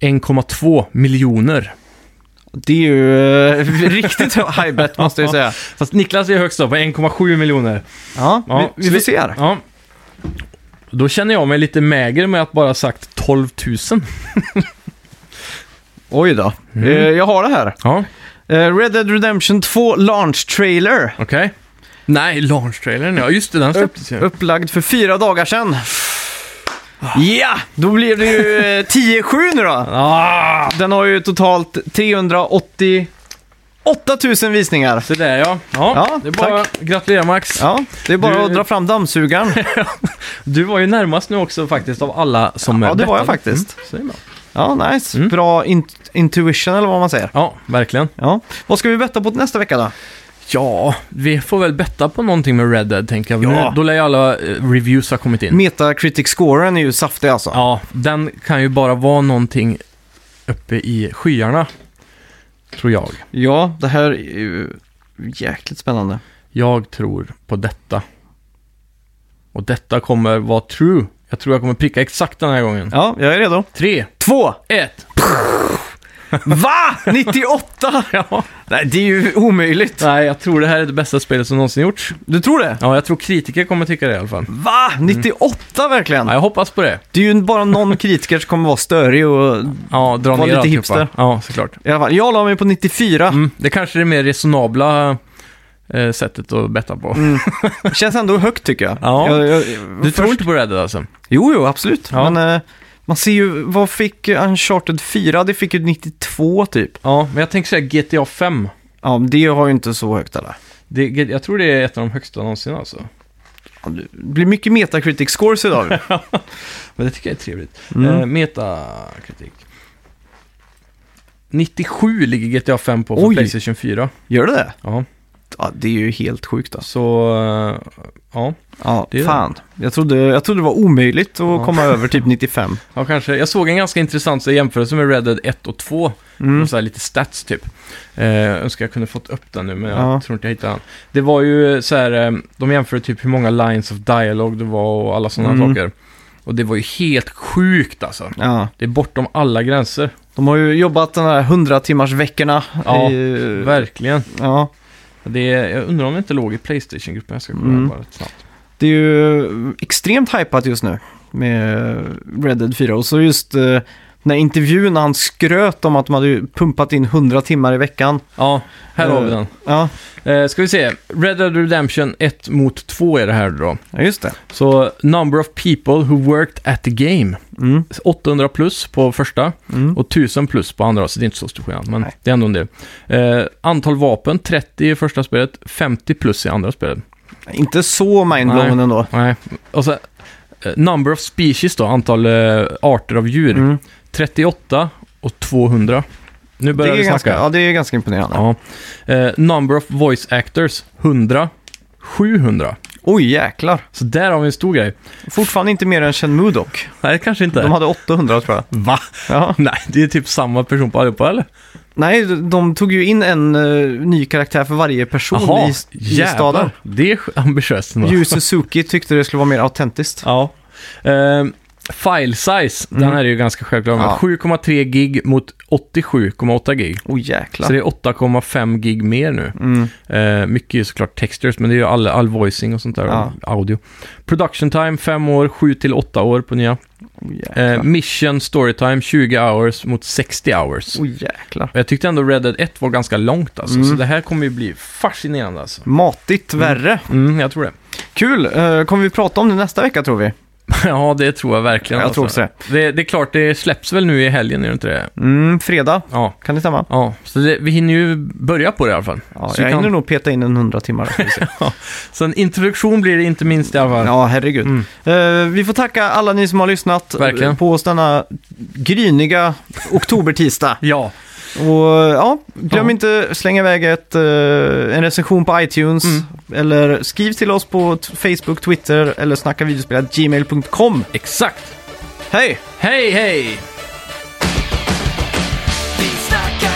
B: 1,2 miljoner.
A: Det är ju eh, riktigt high bet måste jag ju säga.
B: Fast Niklas är högst då på 1,7 miljoner.
A: Ja,
B: Ja,
A: vi, vi
B: så
A: får
B: vi-
A: se här.
B: Ja. Då känner jag mig lite mäger med att bara sagt 12 000.
A: Oj då. Eh, jag har det här.
B: Ja,
A: Eh, Red Dead Redemption 2 Launch Trailer.
B: okej. Nej, launch-trailern ja. Just det, den släpptes ju.
A: Upplagd för fyra dagar sedan. Ja, då blev det ju eh, 10-7 nu då.
B: Ah,
A: Den har ju totalt 388 000 visningar.
B: det där ja. Ja,
A: Ja,
B: det är bara att gratulera Max.
A: Ja, det är bara
B: Du-
A: att dra fram dammsugaren.
B: Du var ju närmast nu också faktiskt av alla som
A: Ja,
B: eh,
A: det var jag
B: bettade.
A: faktiskt.
B: Mm, så är det bra.
A: Ja, nice.
B: Mm.
A: Bra in intuition eller vad man säger.
B: Ja, verkligen.
A: Ja. Vad ska vi betta på nästa vecka då?
B: Ja, vi får väl betta på någonting med Red Dead tänker jag.
A: Ja.
B: Nu, då lär ju alla eh, reviews ha kommit in.
A: Metacritic-scoren är ju saftig alltså.
B: Ja, den kan ju bara vara någonting uppe i skyarna. Tror jag.
A: Ja, det här är ju jäkligt spännande.
B: Jag tror på detta. Och detta kommer vara true. Jag tror jag kommer pricka exakt den här gången.
A: Ja, jag är redo.
B: Tre,
A: Två!
B: ett.
A: Va? 98?
B: Ja.
A: Nej, det är ju omöjligt.
B: Nej, jag tror det här är det bästa spelet som någonsin gjorts.
A: Du tror det?
B: Ja, jag tror kritiker kommer tycka det i alla fall.
A: Va? 98 verkligen?
B: Mm. Ja, jag hoppas på det.
A: Det är ju bara någon kritiker som kommer vara störig och...
B: Ja, dra
A: Var
B: ner
A: lite
B: alltihopa.
A: hipster. Ah.
B: Ja, såklart.
A: I alla fall, jag la mig på 94.
B: Mm, det kanske är det mer resonabla eh, sättet att betta på.
A: Mm. Känns ändå högt tycker jag.
B: Mm. Ja.
A: jag, jag
B: Du tror inte på Red Dead alltså?
A: Jo, jo, absolut.
B: Ja.
A: Men eh, man ser ju, vad fick Uncharted 4? Det fick ju 92 typ.
B: Ja, men jag tänker säga GTA 5.
A: Ja, men det har ju inte så högt eller?
B: Det, jag tror det är ett av de högsta någonsin alltså.
A: Ja, Det blir mycket metacritic scores idag.
B: Men det tycker jag är trevligt.
A: Mm.
B: Eh, metakritik. 97 ligger GTA 5 på för
A: Oj.
B: Playstation 4.
A: Gör det det?
B: Ja,
A: Ja, det är ju helt sjukt alltså.
B: så... eh, ja.
A: Ja,
B: Det är det.
A: fan. Jag trodde, jag trodde det var omöjligt att
B: Ja.
A: komma över typ 95.
B: ja, kanske. Jag såg en ganska intressant så, jämförelse med Red Dead 1 och 2. Mm. Så här lite stats typ. Eh, önskar jag kunde fått upp den nu, men
A: Ja.
B: jag tror inte jag hittade den. Det var ju så här, eh, de jämförde typ hur många lines of dialogue det var och alla sådana
A: Mm.
B: saker. Och det var ju helt sjukt alltså.
A: Ja.
B: Det är bortom alla gränser.
A: De har ju jobbat den här 100 timmars veckorna.
B: Ja,
A: i, eh,
B: Verkligen.
A: ja.
B: Det är, jag undrar om det inte låg i Playstation-gruppen. Jag ska kolla
A: Mm.
B: bara rätt snabbt.
A: Det är ju extremt hypat just nu med Red Dead 4. Och så just eh, den här intervjun när han skröt om att de hade ju pumpat in 100 timmar i veckan.
B: Ja, här har vi
A: Eh.
B: den.
A: Ja,
B: Eh, ska vi se. Red Dead Redemption 1 mot 2 är det här då.
A: ja just det.
B: Så, number of people who worked at the game.
A: Mm.
B: 800 plus på första
A: Mm.
B: och 1000 plus på andra, så det är inte så stor skillnad, men
A: Nej.
B: det är ändå en del. Eh, antal vapen, 30 i första spelet, 50 plus i andra spelet.
A: Inte så mindblown
B: Nej.
A: ändå.
B: Nej, och så, eh, number of species då, antal eh, arter av djur.
A: Mm.
B: 38 och 200. Nu
A: Det,
B: börjar vi
A: är
B: snacka.
A: ganska, ja, det är ganska imponerande.
B: Ja. Eh, number of voice actors, 100. 700.
A: Oj, jäklar.
B: Så där har vi en stor grej.
A: Fortfarande inte mer än Shenmue dock.
B: Nej, kanske inte.
A: De hade 800 tror jag.
B: Va?
A: Ja.
B: Nej, det är typ samma person på allihopa, eller?
A: Nej, de tog ju in en eh, ny karaktär för varje person i, i
B: jävlar.
A: staden.
B: Det är sj- ambitiöst ändå.
A: Yu Suzuki tyckte det skulle vara mer autentiskt.
B: Ja. Ehm, file size, den här är ju ganska självklar. men
A: Mm. Ja.
B: 7,3 gig mot 87,8 gig.
A: Oj,
B: Så
A: jäklar.
B: det är 8,5 gig mer nu.
A: Mm.
B: Eh, mycket är ju såklart textures, men det är ju all, all voicing och sånt där.
A: Ja.
B: Audio. Production time 5 år, 7 till 8 år på nya.
A: Oj, jäklar.
B: Eh, mission story time 20 hours mot 60 hours.
A: Oj, jäklar.
B: Och Jag tyckte ändå Red Dead 1 var ganska långt alltså,
A: Mm.
B: så det här kommer ju bli fascinerande alltså.
A: Matigt värre.
B: Mm, jag tror det.
A: Kul! Eh, kommer vi prata om det nästa vecka tror vi?
B: ja, det tror jag verkligen. alltså.
A: Jag tror också det.
B: det. Det är klart, det släpps väl nu i helgen, är det inte det?
A: Mm, fredag,
B: Ja.
A: kan det stämma?
B: Ja, så det, vi hinner ju börja på det i alla fall.
A: Ja,
B: så
A: jag
B: vi kan-
A: hinner nog peta in en hundra timmar. ska vi se.
B: Så en introduktion blir det inte minst i alla fall.
A: ja, herregud. Eh, vi får tacka alla ni som har lyssnat eh,
B: Mm. Verkligen.
A: på oss denna gryniga oktobertisdag.
B: Ja.
A: Och eh, ja, glöm
B: Ja.
A: inte slänga iväg ett, eh, en recension på iTunes.
B: Mm.
A: Eller skriv till oss på t- Facebook, Twitter eller snackavideospelat.gmail.com.
B: Exakt.
A: Hej!
B: Hej, hej!
C: Vi snackar